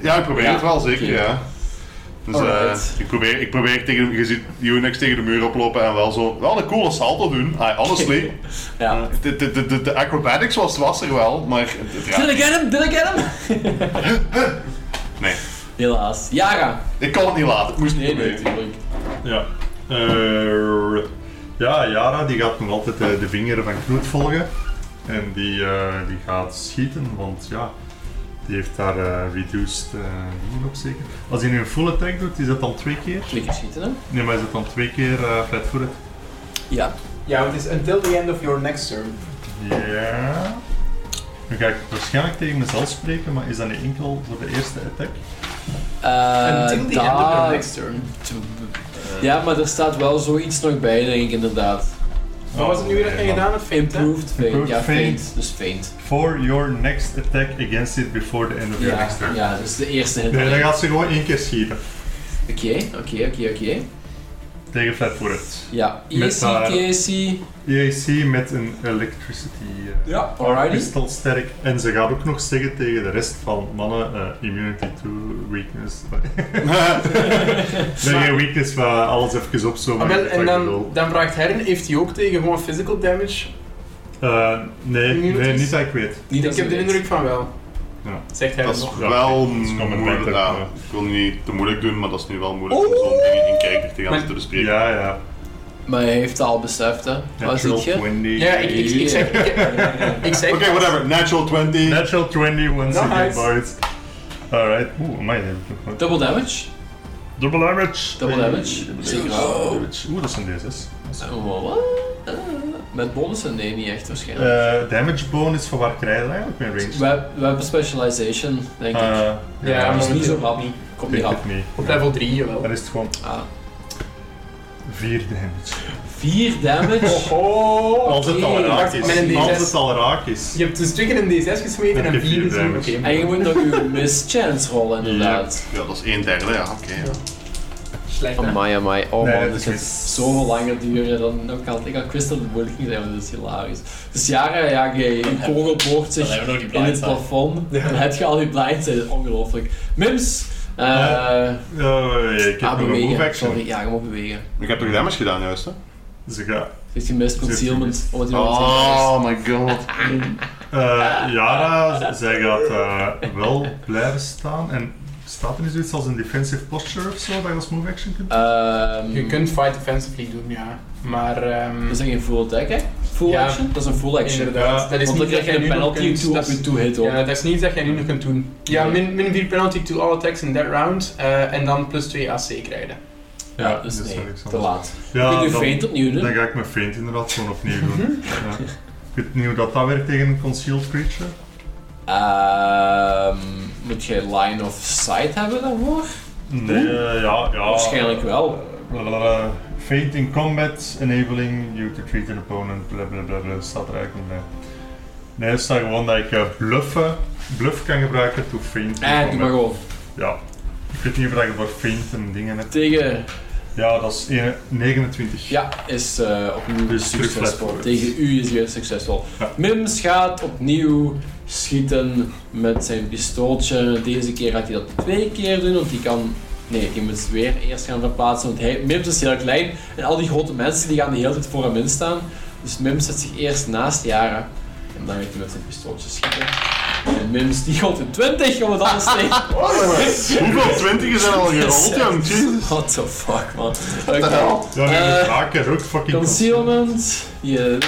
[SPEAKER 4] ja, ik probeer het wel, zeker,
[SPEAKER 1] Oké.
[SPEAKER 4] ja. Dus eh,
[SPEAKER 1] Alright.
[SPEAKER 4] ik, probeer, ik probeer tegen, je ziet Unix tegen de muur oplopen en wel zo, wel een coole salto doen, I, honestly.
[SPEAKER 1] Ja.
[SPEAKER 4] De, de, de, de, de acrobatics was, was er wel, maar het, het raakt
[SPEAKER 1] Did I get him? Did I get him?
[SPEAKER 4] Nee,
[SPEAKER 1] Helaas. Jara.
[SPEAKER 4] ik kon het niet laten, ik moest het
[SPEAKER 1] Nee, nee,
[SPEAKER 4] proberen.
[SPEAKER 1] natuurlijk.
[SPEAKER 3] Ja. Eh, ja, Jara die gaat nog altijd eh, de vinger van Knoet volgen. En die, eh, die gaat schieten, want ja, die heeft daar eh, reduced eh, dingen op zeker. Als hij nu een full attack doet, is dat dan twee keer?
[SPEAKER 1] Twee keer schieten, hè?
[SPEAKER 3] Nee, maar is dat dan twee keer eh flat footed?
[SPEAKER 1] Ja.
[SPEAKER 2] Ja, want het is until the end of your next turn.
[SPEAKER 3] Ja. Nu ga ik waarschijnlijk tegen mezelf spreken, maar is dat niet enkel voor de eerste attack?
[SPEAKER 1] Eh,
[SPEAKER 2] until the end of your
[SPEAKER 1] daar-
[SPEAKER 2] next turn.
[SPEAKER 1] Ja, maar er staat wel zoiets nog bij, denk ik inderdaad.
[SPEAKER 2] Wat was het nu weer dat je gedaan Ah, hebt? Fint, hè?
[SPEAKER 1] Improved feint.
[SPEAKER 3] Improved
[SPEAKER 1] Ja,
[SPEAKER 3] feint.
[SPEAKER 1] feint. Dus feint.
[SPEAKER 3] For your next attack against it before the end of your
[SPEAKER 1] Ja,
[SPEAKER 3] next turn.
[SPEAKER 1] ja, dus de eerste hit.
[SPEAKER 3] Nee, dan
[SPEAKER 1] Oké,
[SPEAKER 3] gaat ze gewoon één keer schieten.
[SPEAKER 1] oké, oké, oké.
[SPEAKER 3] Tegen flatfooted.
[SPEAKER 1] Ja,
[SPEAKER 3] Met
[SPEAKER 1] EC,
[SPEAKER 3] haar-
[SPEAKER 1] KC.
[SPEAKER 3] EAC met een electricity eh,
[SPEAKER 1] Ja, alrighty.
[SPEAKER 3] Crystal sterk. En ze gaat ook nog zeggen tegen de rest van mannen: eh, immunity to weakness. nee, geen weakness, maar alles even opzoomen.
[SPEAKER 2] Ah, wel,
[SPEAKER 3] wat
[SPEAKER 2] en
[SPEAKER 3] ik
[SPEAKER 2] dan,
[SPEAKER 3] bedoel.
[SPEAKER 2] dan vraagt Herren, heeft hij ook tegen gewoon physical damage?
[SPEAKER 3] Eh, nee, nee,
[SPEAKER 2] Immunities?
[SPEAKER 3] niet dat ik weet.
[SPEAKER 1] Niet dat
[SPEAKER 2] ik heb
[SPEAKER 1] ze
[SPEAKER 2] de
[SPEAKER 1] weet.
[SPEAKER 2] indruk van wel.
[SPEAKER 3] Ja.
[SPEAKER 2] Zegt
[SPEAKER 4] Dat
[SPEAKER 2] Herren
[SPEAKER 4] is
[SPEAKER 2] nog.
[SPEAKER 3] Ja,
[SPEAKER 4] wel
[SPEAKER 3] dat is gewoon een
[SPEAKER 4] moeilijk.
[SPEAKER 3] bank,
[SPEAKER 4] ja,
[SPEAKER 3] ja.
[SPEAKER 4] ik wil niet te moeilijk doen, maar dat is nu wel moeilijk om zo'n dingen in kijker te gaan
[SPEAKER 2] Maar-
[SPEAKER 4] te bespreken.
[SPEAKER 3] Ja, ja.
[SPEAKER 1] Maar hij heeft het al beseft, hè? Wat
[SPEAKER 3] Natural
[SPEAKER 1] ziet je?
[SPEAKER 3] 20.
[SPEAKER 2] Ja, ik, ik, ik zeg... Ik, ik zeg
[SPEAKER 4] Oké, whatever. Natural 20.
[SPEAKER 3] Natural 20 once again,
[SPEAKER 2] Nice.
[SPEAKER 3] Bart. Alright. Oeh, amai. dat heb ik nog nooit-
[SPEAKER 1] Double damage.
[SPEAKER 3] Double damage.
[SPEAKER 1] Double
[SPEAKER 3] Eh,
[SPEAKER 1] damage.
[SPEAKER 3] double
[SPEAKER 1] Zeker.
[SPEAKER 3] damage. Oeh, dat is een D6.
[SPEAKER 1] Oh, wat? Eh, Met bonussen? Nee, niet echt waarschijnlijk.
[SPEAKER 3] Eh, damage bonus voor waar krijg je dat eigenlijk met range?
[SPEAKER 1] We, we hebben specialization, denk ik.
[SPEAKER 3] Eh,
[SPEAKER 2] Ja,
[SPEAKER 1] Dat is
[SPEAKER 2] maar-
[SPEAKER 1] niet zo rap. Komt
[SPEAKER 3] Ik
[SPEAKER 1] niet
[SPEAKER 3] denk
[SPEAKER 1] rap.
[SPEAKER 3] het niet.
[SPEAKER 2] op level 3,
[SPEAKER 3] Dan
[SPEAKER 2] jawel.
[SPEAKER 3] is het gewoon
[SPEAKER 1] Ah,
[SPEAKER 3] 4 damage.
[SPEAKER 1] 4 damage.
[SPEAKER 2] Oh,
[SPEAKER 3] Als het al raakt
[SPEAKER 2] Met een
[SPEAKER 3] Oh, is.
[SPEAKER 2] D6.
[SPEAKER 3] Als het al raak is.
[SPEAKER 2] Je hebt dus twee keer een D6 gesmeten
[SPEAKER 3] Ik
[SPEAKER 2] en
[SPEAKER 3] heb
[SPEAKER 2] 4
[SPEAKER 3] vier
[SPEAKER 2] is een...
[SPEAKER 3] damage.
[SPEAKER 2] Oké.
[SPEAKER 1] En je moet nog je mischance rollen, inderdaad.
[SPEAKER 4] Ja, dat is één derde, ja. Oké. ja.
[SPEAKER 2] Slecht, hè?
[SPEAKER 1] Amai, amai. Oh
[SPEAKER 3] Nee,
[SPEAKER 1] man,
[SPEAKER 3] dat
[SPEAKER 1] dit
[SPEAKER 3] is
[SPEAKER 1] gaat
[SPEAKER 3] mis.
[SPEAKER 1] zoveel langer duren dan ook al. Ik had Crystal de moeilijk ging zijn, maar dat is hilarisch. Dus jaren, ja, je je kogel boort
[SPEAKER 5] Dan
[SPEAKER 1] zich
[SPEAKER 5] hebben we nog die
[SPEAKER 1] in het
[SPEAKER 5] blindside.
[SPEAKER 1] plafond. Dan heb je al die blinds, dat is ongelooflijk. Mims! eh ja,
[SPEAKER 3] Eh, ik heb nog een move
[SPEAKER 1] bewegen.
[SPEAKER 3] action.
[SPEAKER 1] Sorry, ja, je moet bewegen.
[SPEAKER 4] Ik heb toch damage gedaan juist, hè?
[SPEAKER 3] Ze gaat.
[SPEAKER 1] Dus je mist
[SPEAKER 3] Zit
[SPEAKER 1] concealment.
[SPEAKER 3] gemist.
[SPEAKER 1] Oh, die
[SPEAKER 4] Oh my god.
[SPEAKER 3] eh, Yara, zij gaat eh, wel blijven staan. En staat er nu zoiets als een defensive posture of zo dat je als move action kunt?
[SPEAKER 1] Ehm,
[SPEAKER 2] Je kunt fight defensively doen, ja. Maar... ehm
[SPEAKER 1] Dat is geen full attack, hè? Full
[SPEAKER 2] Ja.
[SPEAKER 1] action? Dat is een full action.
[SPEAKER 2] Inderdaad.
[SPEAKER 3] Ja,
[SPEAKER 2] dat is
[SPEAKER 1] Want
[SPEAKER 2] niet
[SPEAKER 1] dan
[SPEAKER 2] dat
[SPEAKER 1] krijg je
[SPEAKER 2] jij
[SPEAKER 1] een
[SPEAKER 2] nu nog
[SPEAKER 1] penalty
[SPEAKER 2] kunt-
[SPEAKER 1] toe op
[SPEAKER 2] dat is-
[SPEAKER 1] je two-hit hoor.
[SPEAKER 2] Ja, dat is niet dat jij nu nog kunt doen. Ja,
[SPEAKER 1] Nee.
[SPEAKER 2] min, min 4 penalty to all attacks in that round. eh, en dan plus 2 AC krijgen.
[SPEAKER 1] Ja, dus
[SPEAKER 3] dat is
[SPEAKER 1] nee,
[SPEAKER 3] niks
[SPEAKER 1] te
[SPEAKER 3] anders.
[SPEAKER 1] laat.
[SPEAKER 3] Ja,
[SPEAKER 1] Kun je
[SPEAKER 3] dan-
[SPEAKER 1] feint opnieuw
[SPEAKER 3] Dan
[SPEAKER 1] doen?
[SPEAKER 3] ga ik mijn vriend inderdaad gewoon opnieuw doen. ja. Ik weet niet hoe dat, dat werkt tegen een concealed creature.
[SPEAKER 1] Ehm, moet jij line of sight hebben daarvoor?
[SPEAKER 3] Nee, eh, ja, ja.
[SPEAKER 1] Waarschijnlijk wel.
[SPEAKER 3] Blablabla. Feint in combat, enabling you to treat an opponent, blablabla, bla, staat er eigenlijk niet bij. Nee, het staat gewoon dat ik eh, bluffen, bluff kan gebruiken to feint in
[SPEAKER 1] Eh, doe maar
[SPEAKER 3] combat.
[SPEAKER 1] gewoon.
[SPEAKER 3] Ja. Ik weet niet of dat je voor feint en dingen hebt.
[SPEAKER 1] Tegen,
[SPEAKER 3] Ja, dat is een- 29.
[SPEAKER 1] ja, is eh, opnieuw
[SPEAKER 3] Dus terug
[SPEAKER 1] succesvol.
[SPEAKER 3] flat.
[SPEAKER 1] Tegen u is weer succesvol.
[SPEAKER 3] Ja.
[SPEAKER 1] Mims gaat opnieuw schieten met zijn pistooltje. Deze keer gaat hij dat twee keer doen, want die kan... Nee, die moet weer eerst gaan verplaatsen, want hij, Mims is heel klein. En al die grote mensen die gaan de hele tijd voor hem in staan. Dus Mims zet zich eerst naast Jara. En dan gaat hij met zijn pistooltje schieten. En Mims die gooit een 20 om het alles tegen.
[SPEAKER 4] Hoeveel 20 zijn al gerold, jong? Jezus.
[SPEAKER 1] What the fuck, man. Oké.
[SPEAKER 3] Ja, nu
[SPEAKER 1] Eh,
[SPEAKER 3] de draak is ook fucking
[SPEAKER 1] Concealment. Je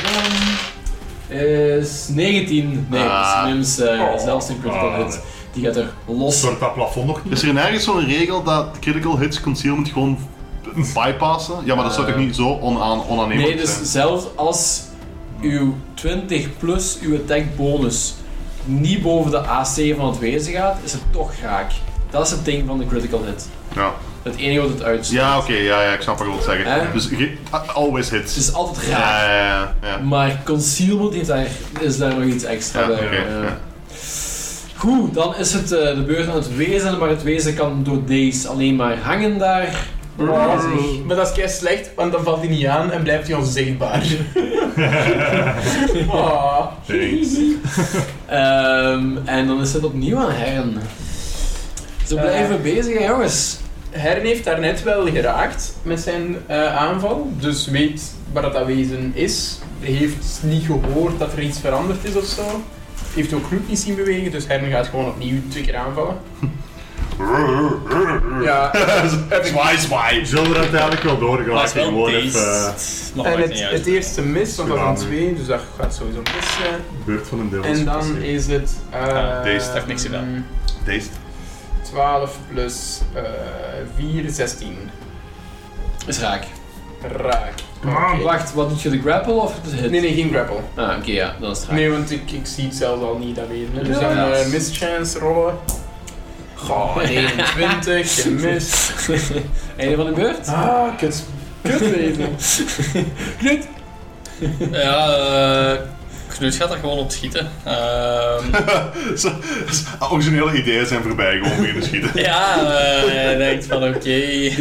[SPEAKER 1] is 19. Nee,
[SPEAKER 4] Ah.
[SPEAKER 1] dat is minus, eh,
[SPEAKER 3] Oh.
[SPEAKER 1] zelfs een critical
[SPEAKER 3] Ah,
[SPEAKER 1] hit.
[SPEAKER 3] nee.
[SPEAKER 1] Die gaat er los.
[SPEAKER 3] Stort dat plafond nog niet?
[SPEAKER 4] Is er nergens zo'n regel dat critical hits concealment gewoon bypassen? Ja, maar dat zou toch niet zo onaan, onaannemelijk
[SPEAKER 1] Nee, dus
[SPEAKER 4] zijn?
[SPEAKER 1] zelfs als uw 20 plus uw attack bonus niet boven de AC van het wezen gaat, is het toch raak. Dat is het ding van de critical hit.
[SPEAKER 4] Ja,
[SPEAKER 1] Het enige wat het uitziet.
[SPEAKER 4] ja oké, ja, ja, ik snap wat je wilt zeggen.
[SPEAKER 1] Eh?
[SPEAKER 4] Dus ge- always hits.
[SPEAKER 1] Dus Het is altijd
[SPEAKER 4] ja,
[SPEAKER 1] raak.
[SPEAKER 4] ja, ja, ja.
[SPEAKER 1] Maar concealment heeft daar, is daar nog iets extra
[SPEAKER 4] Ja,
[SPEAKER 1] bij.
[SPEAKER 4] oké,
[SPEAKER 1] Eh,
[SPEAKER 4] ja.
[SPEAKER 1] Goed, dan is het eh, de beurt aan het wezen, maar het wezen kan door deze alleen maar hangen daar. Wazig.
[SPEAKER 2] Maar dat is kei slecht, want dan valt hij niet aan en blijft hij onzichtbaar. Ah.
[SPEAKER 3] Thanks.
[SPEAKER 1] Ehm, en dan is het opnieuw aan Herren. Ze
[SPEAKER 2] Eh.
[SPEAKER 1] blijven bezig, hè, jongens.
[SPEAKER 2] Hern heeft daarnet wel geraakt met zijn eh, aanval, dus weet waar dat wezen is. Heeft niet gehoord dat er iets veranderd is of zo. Heeft ook Knoet niet zien bewegen, dus Hern gaat gewoon opnieuw twee keer aanvallen. Ja,
[SPEAKER 4] Zwaai, zwaai.
[SPEAKER 3] Zullen we dat eigenlijk wel doorgaan?
[SPEAKER 5] Maar het is wel
[SPEAKER 3] Gewoon
[SPEAKER 5] deze.
[SPEAKER 3] even eh,
[SPEAKER 5] Maar
[SPEAKER 2] en
[SPEAKER 5] maakt
[SPEAKER 2] het,
[SPEAKER 5] niet
[SPEAKER 2] het
[SPEAKER 5] uit.
[SPEAKER 2] eerste mis, want dat zijn
[SPEAKER 3] Ja.
[SPEAKER 2] twee, dus dat gaat sowieso mis zijn.
[SPEAKER 3] beurt van een deel. dus
[SPEAKER 2] En dan is het... eh,
[SPEAKER 4] deze heeft
[SPEAKER 5] niks gedaan.
[SPEAKER 4] Deze.
[SPEAKER 2] 12 plus eh 4, 16.
[SPEAKER 1] Is raak.
[SPEAKER 2] Raak. Oké.
[SPEAKER 1] Wacht, wat doet je de grapple of de hit?
[SPEAKER 2] Ah. Nee, nee, geen grapple.
[SPEAKER 1] Ah, oké, ja, dan is het raak.
[SPEAKER 2] Nee, want ik, ik zie het zelfs al niet, dat weet je. Dus
[SPEAKER 1] Ja.
[SPEAKER 2] dan eh, mischance rollen. Goh, 21, gemist.
[SPEAKER 1] Einde van de beurt?
[SPEAKER 2] Ah, kut. Kut even.
[SPEAKER 1] Knut!
[SPEAKER 5] Ja, eh, Knut gaat er gewoon op schieten. Ehm,
[SPEAKER 4] Zo- Ook zijn hele ideeën zijn voorbij, gewoon beginnen schieten.
[SPEAKER 5] ja, eh, hij denkt van oké.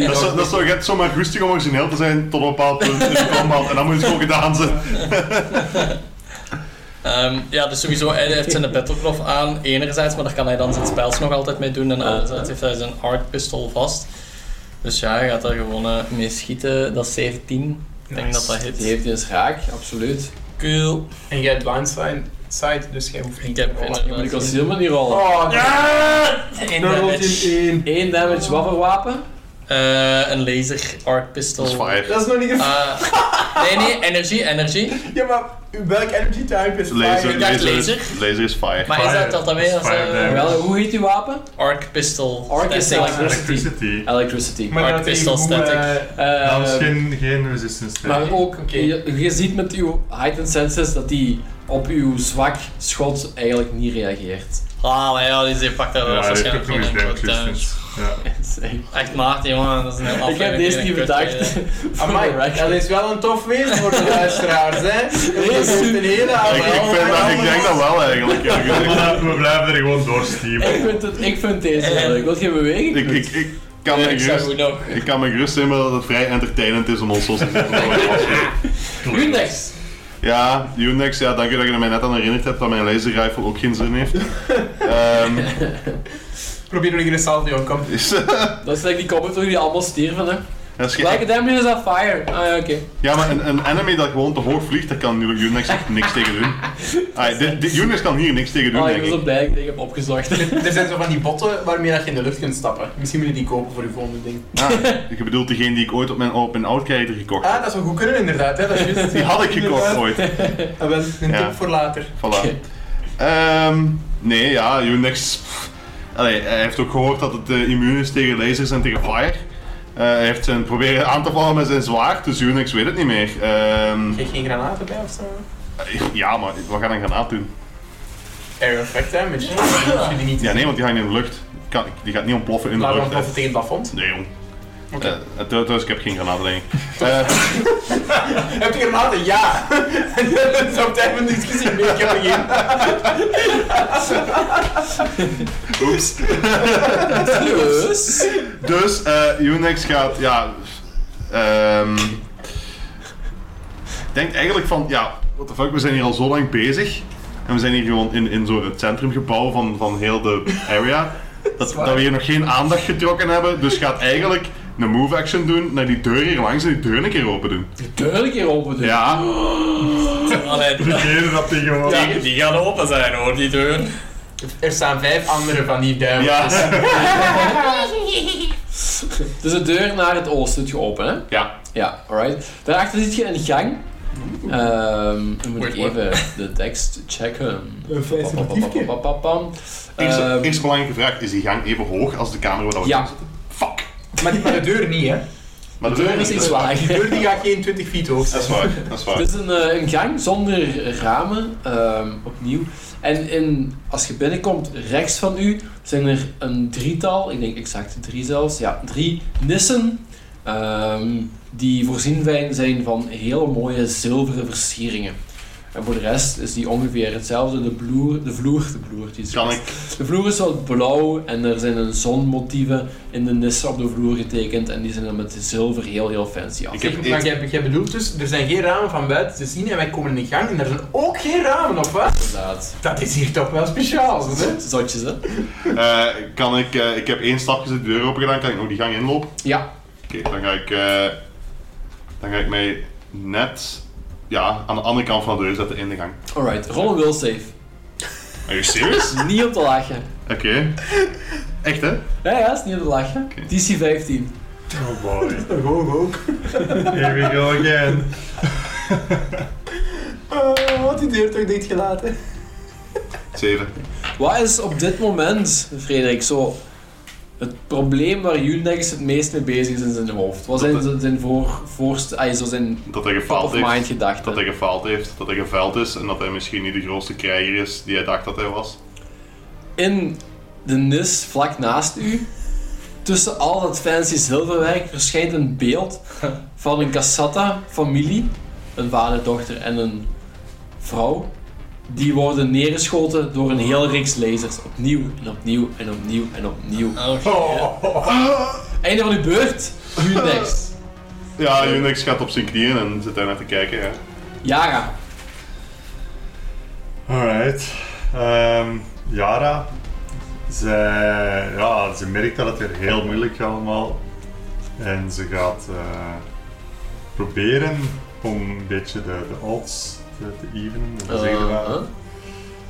[SPEAKER 4] Dat is, dat is zo, je hebt zomaar rustig om origineel te zijn tot een bepaald punt in het combat en dan moet je het gewoon gedaan zijn.
[SPEAKER 5] Ehm, ja, dus sowieso, hij heeft zijn battlecloth aan, enerzijds, maar daar kan hij dan zijn spels nog altijd mee doen. En anderzijds heeft hij zijn art pistol vast. Dus ja, hij gaat daar gewoon eh, mee schieten. Dat is 17. Ik denk dat dat
[SPEAKER 1] Die
[SPEAKER 5] hit.
[SPEAKER 1] heeft eens raak, absoluut.
[SPEAKER 5] Cool.
[SPEAKER 2] En jij hebt blindside, side, dus jij hoeft niet
[SPEAKER 5] Ik heb
[SPEAKER 2] te rollen.
[SPEAKER 1] Je moet de concealment niet rollen.
[SPEAKER 2] Oh,
[SPEAKER 5] Eén
[SPEAKER 2] daar rolt
[SPEAKER 5] damage.
[SPEAKER 2] in één.
[SPEAKER 1] 1 damage, wat voor wapen?
[SPEAKER 5] Eh, een laser art pistol.
[SPEAKER 4] Dat is fire.
[SPEAKER 2] Dat is nog niet een...
[SPEAKER 5] Ah, nee, nee, energie, energie.
[SPEAKER 2] Ja, maar welk energy type is
[SPEAKER 4] Laser,
[SPEAKER 5] Ik dacht
[SPEAKER 4] laser,
[SPEAKER 5] laser.
[SPEAKER 4] is, laser is fire.
[SPEAKER 5] Maar is
[SPEAKER 3] Fire.
[SPEAKER 5] dat dat mee als
[SPEAKER 3] Fire
[SPEAKER 5] eh,
[SPEAKER 3] damage.
[SPEAKER 1] Wel, hoe heet uw wapen?
[SPEAKER 5] arc pistol?
[SPEAKER 1] Arc is
[SPEAKER 5] static?
[SPEAKER 1] electric.
[SPEAKER 3] Electricity.
[SPEAKER 1] Electricity.
[SPEAKER 5] Maar
[SPEAKER 2] dat
[SPEAKER 5] pistol static.
[SPEAKER 1] Eh,
[SPEAKER 4] Nou,
[SPEAKER 3] Dat is geen, geen resistance. tegen.
[SPEAKER 1] maar ook,
[SPEAKER 2] Oké.
[SPEAKER 1] je, je ziet met uw heightened senses dat die op uw zwak schot eigenlijk niet reageert.
[SPEAKER 5] Ah, maar ja, die pakt daar
[SPEAKER 3] Ja, heeft
[SPEAKER 5] waarschijnlijk
[SPEAKER 3] ook nog
[SPEAKER 5] geen
[SPEAKER 3] eens
[SPEAKER 5] enkele
[SPEAKER 3] damage
[SPEAKER 5] damage.
[SPEAKER 3] resistance. Ja.
[SPEAKER 5] Echt Maarten, jongen, dat is een hele
[SPEAKER 1] Ik heb
[SPEAKER 5] aflevering
[SPEAKER 1] deze
[SPEAKER 5] in
[SPEAKER 1] niet
[SPEAKER 5] een kut,
[SPEAKER 1] bedacht.
[SPEAKER 5] eh.
[SPEAKER 2] Amai, dat is wel een tof wezen voor de luisteraars, hè? Dat is een hele
[SPEAKER 4] Ik, ik,
[SPEAKER 2] aanval.
[SPEAKER 4] vind dat, ik denk dat wel eigenlijk. eerlijk gezegd.
[SPEAKER 3] Maar we blijven er gewoon door
[SPEAKER 1] Ik
[SPEAKER 3] steamen.
[SPEAKER 1] vind, het, ik vind deze
[SPEAKER 2] Ehm,
[SPEAKER 1] wel leuk. Wil je bewegen?
[SPEAKER 4] Ik, ik, ik, kan me
[SPEAKER 5] Ik zou
[SPEAKER 4] gerust,
[SPEAKER 5] goed nog.
[SPEAKER 4] ik kan me gerust inbeelden dat het vrij entertainend is om ons zo te zetten.
[SPEAKER 1] Unix!
[SPEAKER 4] Ja, Unix, ja, dank je dat je mij net aan herinnerd hebt dat mijn laser rifle ook geen zin heeft. Ehm,
[SPEAKER 2] Probeer nog een salve, jongen, kom.
[SPEAKER 4] is,
[SPEAKER 1] Dat is like die comment waar jullie allemaal stierven, hè.
[SPEAKER 4] als je
[SPEAKER 1] Welke damage is dat fire? Ah ja, oké.
[SPEAKER 4] Ja, maar een, een enemy dat gewoon te hoog vliegt, daar kan natuurlijk Unix echt niks tegen doen. Ah, dit, dit, Unix kan hier niks tegen doen,
[SPEAKER 1] Ah, ik
[SPEAKER 4] denk
[SPEAKER 1] ben zo
[SPEAKER 4] ik.
[SPEAKER 1] blij dat ik die heb opgezocht.
[SPEAKER 2] Er zijn zo van die botten waarmee dat je in de lucht kunt stappen. Misschien moet je die kopen voor je volgende ding.
[SPEAKER 4] Ah, je bedoelt degene die ik ooit op mijn op mijn oud character gekocht
[SPEAKER 2] Ah,
[SPEAKER 4] heb.
[SPEAKER 2] dat zou goed kunnen inderdaad, hè? Dat is juist.
[SPEAKER 4] Die had ik gekocht ooit.
[SPEAKER 2] Ah, wel, een tip
[SPEAKER 4] Ja.
[SPEAKER 2] voor later.
[SPEAKER 4] Voilà. Ehm, nee, ja, Unix... pff. Allee, hij heeft ook gehoord dat het eh, immuun is tegen lasers en tegen fire. Eh, hij heeft zijn proberen aan te vallen met zijn zwaard, dus Unix weet het niet meer. Ehm,
[SPEAKER 2] Geef geen granaten bij of zo?
[SPEAKER 4] ja, maar wat gaat een granaat doen?
[SPEAKER 2] Air effect damage. Dat hoef je die niet te
[SPEAKER 4] Ja, nee,
[SPEAKER 2] zien.
[SPEAKER 4] want die gaat niet in de lucht. Kan- Die gaat niet ontploffen in de
[SPEAKER 2] Waarom
[SPEAKER 4] lucht. hè.
[SPEAKER 2] ploffen tegen het plafond?
[SPEAKER 4] Nee, jong.
[SPEAKER 2] Oké.
[SPEAKER 4] Eh, eh, trouw- trouwens, ik heb geen granaten, denk ik. Eh,
[SPEAKER 2] Heb je granaten? Ja! Dat is op het einde van de discussie. Nee, ik heb er geen.
[SPEAKER 4] oeps.
[SPEAKER 1] Dus...
[SPEAKER 4] Dus, eh Unix gaat, ja... ehm, denkt eigenlijk van, ja, what the fuck, we zijn hier al zo lang bezig. En we zijn hier gewoon in, in zo'n centrumgebouw van, van heel de area. Dat, dat we hier nog geen aandacht getrokken hebben. Dus gaat eigenlijk een move action doen naar die deur hier langs en die deur een keer open doen.
[SPEAKER 1] Duidelijk keer open doen.
[SPEAKER 4] Ja,
[SPEAKER 5] Allee,
[SPEAKER 3] We deden dat tegenwoordig.
[SPEAKER 5] die, die gaan open zijn hoor, die deuren.
[SPEAKER 2] Er staan vijf andere van die duimen.
[SPEAKER 4] ja,
[SPEAKER 1] Dus de deur naar het oosten doet je open, hè?
[SPEAKER 4] ja.
[SPEAKER 1] Ja, alright. Daarachter zit je een gang. Ehm dan moet ik
[SPEAKER 5] Wait,
[SPEAKER 1] even de tekst checken.
[SPEAKER 2] Een feest
[SPEAKER 1] Pam, pam, pam, pam, pam, pam.
[SPEAKER 4] Eerste,
[SPEAKER 1] Ehm,
[SPEAKER 4] Eh, eerste belangrijke vraag, is die gang even hoog als de kamer waar we
[SPEAKER 1] Ja.
[SPEAKER 4] in zitten? Fuck!
[SPEAKER 2] Maar die- maar de deur niet, hè?
[SPEAKER 4] Maar
[SPEAKER 1] de deur is iets
[SPEAKER 2] De
[SPEAKER 1] lager.
[SPEAKER 2] deur die gaat geen 20 feet hoog zijn.
[SPEAKER 4] Dat is waar, dat is waar.
[SPEAKER 1] Het is een, eh, een gang zonder ramen, ehm, opnieuw. En in, als je binnenkomt, rechts van u, zijn er een drietal, ik denk exact drie zelfs, ja, drie nissen. ehm, die voorzien wij- zijn van hele mooie zilveren versieringen. En voor de rest is die ongeveer hetzelfde. De, bloer, de vloer, de vloer, die is
[SPEAKER 4] Dus Kan ik
[SPEAKER 1] de vloer is wat blauw en er zijn een zonmotieven in de nissen op de vloer getekend. En die zijn dan met zilver heel, heel fancy af.
[SPEAKER 4] Ik
[SPEAKER 2] Zeg,
[SPEAKER 4] heb
[SPEAKER 2] maar
[SPEAKER 4] eet-
[SPEAKER 2] jij, jij bedoelt dus, er zijn geen ramen van buiten te zien en wij komen in de gang en er zijn ook geen ramen, of wat?
[SPEAKER 1] Inderdaad.
[SPEAKER 2] Dat is hier toch wel speciaal, hè?
[SPEAKER 1] Zotjes, hè?
[SPEAKER 4] Eh, kan ik, eh, ik heb één stapje de deur open gedaan, kan ik nog die gang inlopen?
[SPEAKER 1] Ja.
[SPEAKER 4] Oké, dan ga ik, eh, dan ga ik mij net, ja, aan de andere kant van de deur zetten in de gang.
[SPEAKER 1] Alright, roll een will save.
[SPEAKER 4] Are you serious?
[SPEAKER 1] Niet op te lachen.
[SPEAKER 4] Oké. Echt hè?
[SPEAKER 1] Ja, ja, is niet aan het lachen.
[SPEAKER 4] Oké.
[SPEAKER 1] DC 15.
[SPEAKER 3] Oh boy.
[SPEAKER 2] Hoog ook.
[SPEAKER 3] Here we go again.
[SPEAKER 2] Oh, had die deur toch niet gelaten?
[SPEAKER 4] Zeven.
[SPEAKER 1] Wat is op dit moment, Frederik, zo het probleem waar Unix het meest mee bezig is in zijn hoofd? Wat zijn
[SPEAKER 4] Dat-
[SPEAKER 1] z- zijn voor, voorst, ah, zo zijn
[SPEAKER 4] Dat hij
[SPEAKER 1] top
[SPEAKER 4] gefaald
[SPEAKER 1] of mind
[SPEAKER 4] heeft.
[SPEAKER 1] gedachten?
[SPEAKER 4] Dat hij gefaald heeft. Dat hij geveld is. En dat hij misschien niet de grootste krijger is die hij dacht dat hij was.
[SPEAKER 1] In de nis vlak naast u, tussen al dat fancy zilverwerk, verschijnt een beeld van een Cassata-familie. Een vader, dochter en een vrouw. Die worden neergeschoten door een hele reeks lasers. Opnieuw en opnieuw en opnieuw en opnieuw.
[SPEAKER 5] Oh,
[SPEAKER 1] Einde van uw beurt. Unix.
[SPEAKER 4] Ja, Unix gaat op zijn knieën en zit daar naar te kijken. Ja.
[SPEAKER 1] Yara.
[SPEAKER 3] Alright. Ehm Yara, zij, ja, ze merkt dat het hier heel moeilijk gaat allemaal. En ze gaat eh, proberen om een beetje de, de odds te, te evenen. Hoe zeggen we dat?
[SPEAKER 1] Uh-huh.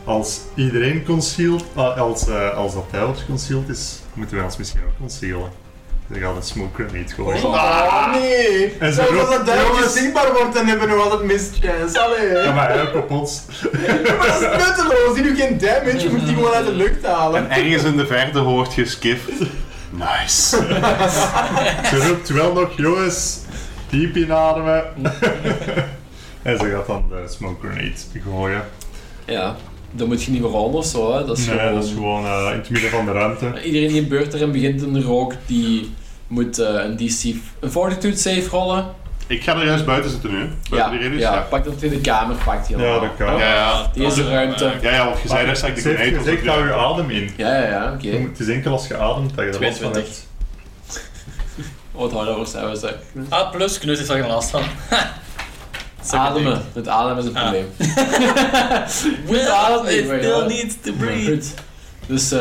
[SPEAKER 3] Als iedereen concealed, ah, als, eh, als dat hij ons concealed is, moeten wij ons misschien ook concealen. Ze gaat een smoke grenade gooien.
[SPEAKER 2] Oh nee!
[SPEAKER 3] En ze
[SPEAKER 2] Zelfs
[SPEAKER 3] roept,
[SPEAKER 2] als dat duimpje
[SPEAKER 3] jongens.
[SPEAKER 2] zichtbaar wordt, dan hebben we nog altijd mischance. Allee.
[SPEAKER 3] Ja, maar hij ook op ons.
[SPEAKER 2] Maar dat is nutteloos, die doet geen damage, je moet die gewoon uit de lucht halen.
[SPEAKER 4] En ergens in de verte hoort je Skif. Nice.
[SPEAKER 3] Ze roept wel nog, jongens, diep inademen. en ze gaat dan de smoke grenade gooien.
[SPEAKER 1] Ja, dan moet je niet meer om of zo. Hè. Dat is
[SPEAKER 3] Nee,
[SPEAKER 1] gewoon...
[SPEAKER 3] dat is gewoon eh, in het midden van de ruimte.
[SPEAKER 1] Iedereen die een beurt erin begint een rook, die moet eh, een DC, een fortitude save rollen.
[SPEAKER 4] Ik ga er juist buiten zitten nu. hè. Buiten die
[SPEAKER 1] ja,
[SPEAKER 4] radius.
[SPEAKER 1] ja, pak dat in de kamer, pakt die
[SPEAKER 3] Ja, Oh,
[SPEAKER 1] allemaal.
[SPEAKER 3] dat kan.
[SPEAKER 4] Ja, ja.
[SPEAKER 1] Deze
[SPEAKER 3] Ah,
[SPEAKER 1] ruimte.
[SPEAKER 4] Ja, ja, want je zei daar straks de
[SPEAKER 3] Ze heeft
[SPEAKER 4] grenade.
[SPEAKER 3] gezegd, hou je adem in.
[SPEAKER 1] Ja, ja, ja, oké.
[SPEAKER 3] Je moet- Het is enkel als je ademt dat je er last van
[SPEAKER 5] 22.
[SPEAKER 3] hebt.
[SPEAKER 1] Oh, het horror zijn we zo.
[SPEAKER 5] A plus, Knut heeft er geen last van.
[SPEAKER 1] Ademen. Het ademen is een
[SPEAKER 5] Ah.
[SPEAKER 1] probleem.
[SPEAKER 5] Will
[SPEAKER 1] ademen,
[SPEAKER 5] it
[SPEAKER 1] maar
[SPEAKER 5] still
[SPEAKER 1] ja.
[SPEAKER 5] needs to breathe.
[SPEAKER 1] Goed. Dus eh,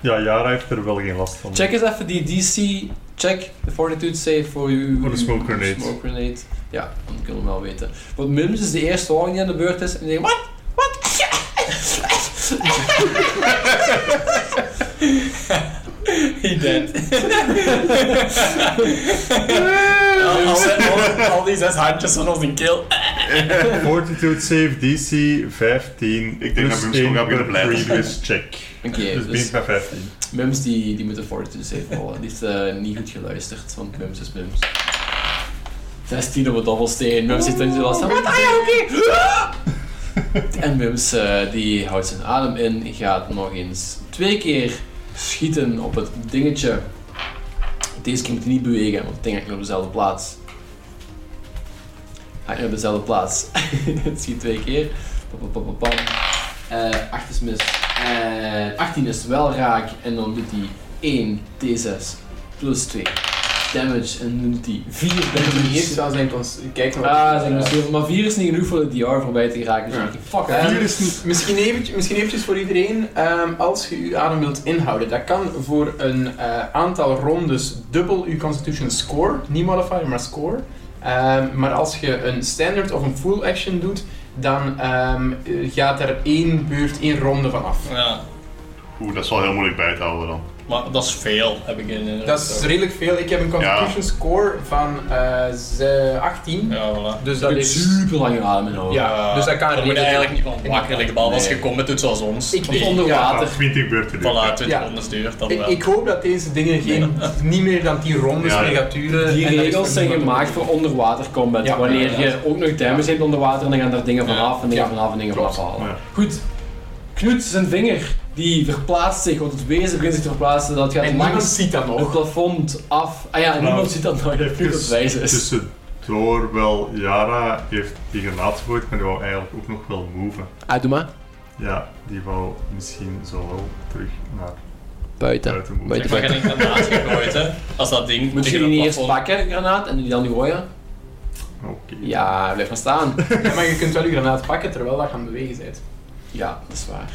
[SPEAKER 3] Ja, Jara heeft er wel geen last van.
[SPEAKER 1] check eens even die DC. Check de fortitude save voor uw...
[SPEAKER 3] Voor de smoke grenade.
[SPEAKER 1] smoke grenade. Ja, dan kunnen we wel weten. Want Mims is de eerste hoorn die aan de beurt is. En die denkt, wat? Wat?
[SPEAKER 5] He dead. al, al- al- al die zes handjes van ons in keel.
[SPEAKER 3] Fortitude save DC 15.
[SPEAKER 4] Ik denk dat we hem gewoon gaan beginnen blijven.
[SPEAKER 3] previous check.
[SPEAKER 1] Oké,
[SPEAKER 3] dus
[SPEAKER 1] dus-
[SPEAKER 3] begint bij 15.
[SPEAKER 1] Mims die, die moet een fortitude save rollen. Die heeft eh, niet goed geluisterd, want Mims is Mims. 16 op het dobbelsteen. Mims heeft dan zo last van... Ah, ja, oké. En Mims eh, die houdt zijn adem in. Gaat nog eens twee keer schieten op het dingetje. Deze keer moet hij niet bewegen, want het ding hangt nog op dezelfde plaats. Hangt nog op dezelfde plaats. Het schiet twee keer. Pam, pam, pam, pam, pam. Eh, 8 is mis. Eh, 18 is wel raak. En dan doet hij 1 D6 plus 2 damage. En dan doet hij 4
[SPEAKER 2] Hier
[SPEAKER 1] damage.
[SPEAKER 2] zou zijn cons... Kijk eh, nog.
[SPEAKER 1] Ah, zijn we zo- maar 4 is niet genoeg voor de DR voorbij te geraken. Dus
[SPEAKER 2] Ja.
[SPEAKER 1] ik denk, fuck
[SPEAKER 2] Ja.
[SPEAKER 1] hè.
[SPEAKER 2] Misschien, eventjes, misschien eventjes voor iedereen, ehm, als je uw adem wilt inhouden, dat kan voor een eh, aantal rondes dubbel uw constitution score, niet modifier, maar score. Ehm, maar als je een standard of een full action doet, dan ehm, eh, gaat er één beurt, één ronde van af.
[SPEAKER 5] Ja,
[SPEAKER 4] Oeh, dat is wel heel moeilijk bij te houden dan.
[SPEAKER 5] maar dat is veel, heb ik in
[SPEAKER 2] Dat is redelijk veel. Ik heb een constitution score van eh, ze- 18.
[SPEAKER 5] Ja, voilà.
[SPEAKER 2] Dus
[SPEAKER 1] Dat
[SPEAKER 2] dat
[SPEAKER 1] is
[SPEAKER 2] is...
[SPEAKER 1] super lang adem in houden.
[SPEAKER 2] Ja, dus dat kan
[SPEAKER 5] We moeten
[SPEAKER 2] redelijk-
[SPEAKER 5] eigenlijk niet van wakker liggen, behalve als
[SPEAKER 1] Nee.
[SPEAKER 5] je combat doet zoals ons.
[SPEAKER 2] Ik-
[SPEAKER 5] Want
[SPEAKER 2] ik-
[SPEAKER 1] Onder
[SPEAKER 2] Ja,
[SPEAKER 3] Ah,
[SPEAKER 1] water.
[SPEAKER 3] 20 beurten doen.
[SPEAKER 5] Voilà, 20
[SPEAKER 2] Ja.
[SPEAKER 5] rondes duurt dat
[SPEAKER 2] Ik,
[SPEAKER 5] wel.
[SPEAKER 2] ik hoop dat deze dingen geen, niet meer dan die rondes
[SPEAKER 4] Ja.
[SPEAKER 2] meer gaat duren.
[SPEAKER 1] Die
[SPEAKER 2] en dat is
[SPEAKER 1] regels zijn
[SPEAKER 2] niemand-
[SPEAKER 1] gemaakt voor onderwater combat.
[SPEAKER 2] Ja,
[SPEAKER 1] Wanneer
[SPEAKER 5] ja,
[SPEAKER 1] je ook nog damage hebt onder water, dan gaan daar dingen vanaf en dingen
[SPEAKER 2] Ja.
[SPEAKER 1] vanaf en dingen
[SPEAKER 2] Klopt.
[SPEAKER 1] vanaf halen.
[SPEAKER 3] Ja.
[SPEAKER 1] Goed. Knut zijn vinger, die verplaatst zich, want het wezen begint zich te verplaatsen. Dat gaat
[SPEAKER 2] En niemand
[SPEAKER 1] langs
[SPEAKER 2] ziet dat
[SPEAKER 1] het
[SPEAKER 2] nog.
[SPEAKER 1] plafond af. Ah ja, en niemand ziet dat nou, dat Knut het wijs
[SPEAKER 3] Even
[SPEAKER 1] is.
[SPEAKER 3] Dus tussendoor wel, Yara heeft die granaat gegooid, maar die wou eigenlijk ook nog wel moven.
[SPEAKER 1] Ah, doe maar.
[SPEAKER 3] Ja, die wou misschien zo wel terug naar
[SPEAKER 1] Buiten.
[SPEAKER 3] buiten moven.
[SPEAKER 1] Buiten.
[SPEAKER 5] Ik mag er niet aan naast gegooid, hè. Als dat ding
[SPEAKER 1] Moet je
[SPEAKER 5] tegen het
[SPEAKER 1] die eerst
[SPEAKER 5] plafond-
[SPEAKER 1] pakken, de granaat, en die dan gooien?
[SPEAKER 3] oh, Oké.
[SPEAKER 1] Ja, blijf maar staan.
[SPEAKER 2] Ja, maar je kunt wel je granaat pakken terwijl dat je aan het bewegen bent.
[SPEAKER 1] Ja, dat is waar.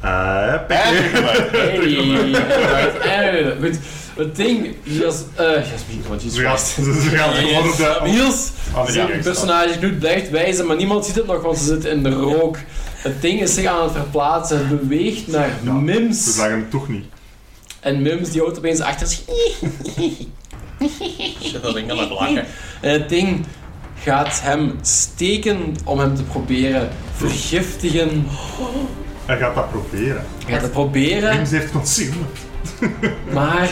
[SPEAKER 3] Eh, pik.
[SPEAKER 1] Hey, eh, goed. Het ding, Jas... eh Jasmin, want je is
[SPEAKER 3] Ze gaat,
[SPEAKER 1] vast.
[SPEAKER 3] ze gaat gewoon op de...
[SPEAKER 1] Niels,
[SPEAKER 3] Aan de
[SPEAKER 1] zijn
[SPEAKER 3] gang staan.
[SPEAKER 1] personage doet blijft wijzen, maar niemand ziet het nog, want ze zitten in de rook. Het ding is zich aan het verplaatsen. Het beweegt naar
[SPEAKER 3] Ja. Ze
[SPEAKER 1] Mims.
[SPEAKER 3] zagen hem toch niet.
[SPEAKER 1] En Mims die houdt opeens achter zich.
[SPEAKER 5] Shit, dat ding kan nog lachen.
[SPEAKER 1] En het ding gaat hem steken om hem te proberen vergiftigen.
[SPEAKER 3] Hij gaat dat proberen.
[SPEAKER 1] Hij gaat het proberen,
[SPEAKER 3] James heeft concealment.
[SPEAKER 1] maar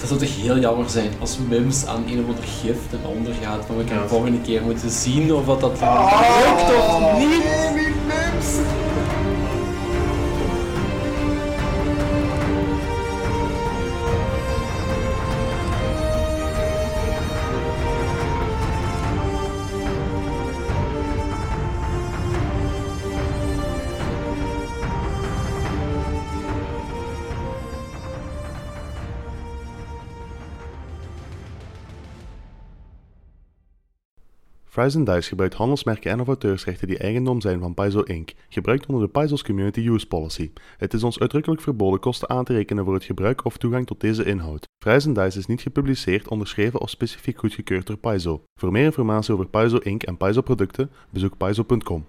[SPEAKER 1] dat zou toch heel jammer zijn als Mims aan een of ander gif ten onder gaat. Maar we gaan de volgende keer moeten zien of dat, dat lukt of niet.
[SPEAKER 4] Fries and Dice gebruikt handelsmerken en of auteursrechten die eigendom zijn van Paizo Inc., gebruikt onder de Paizo's Community Use Policy. Het is ons uitdrukkelijk verboden kosten aan te rekenen voor het gebruik of toegang tot deze inhoud. Fries and Dice is niet gepubliceerd, onderschreven of specifiek goedgekeurd door Paizo. Voor meer informatie over Paizo Inc. en Paizo producten, bezoek paizo.com.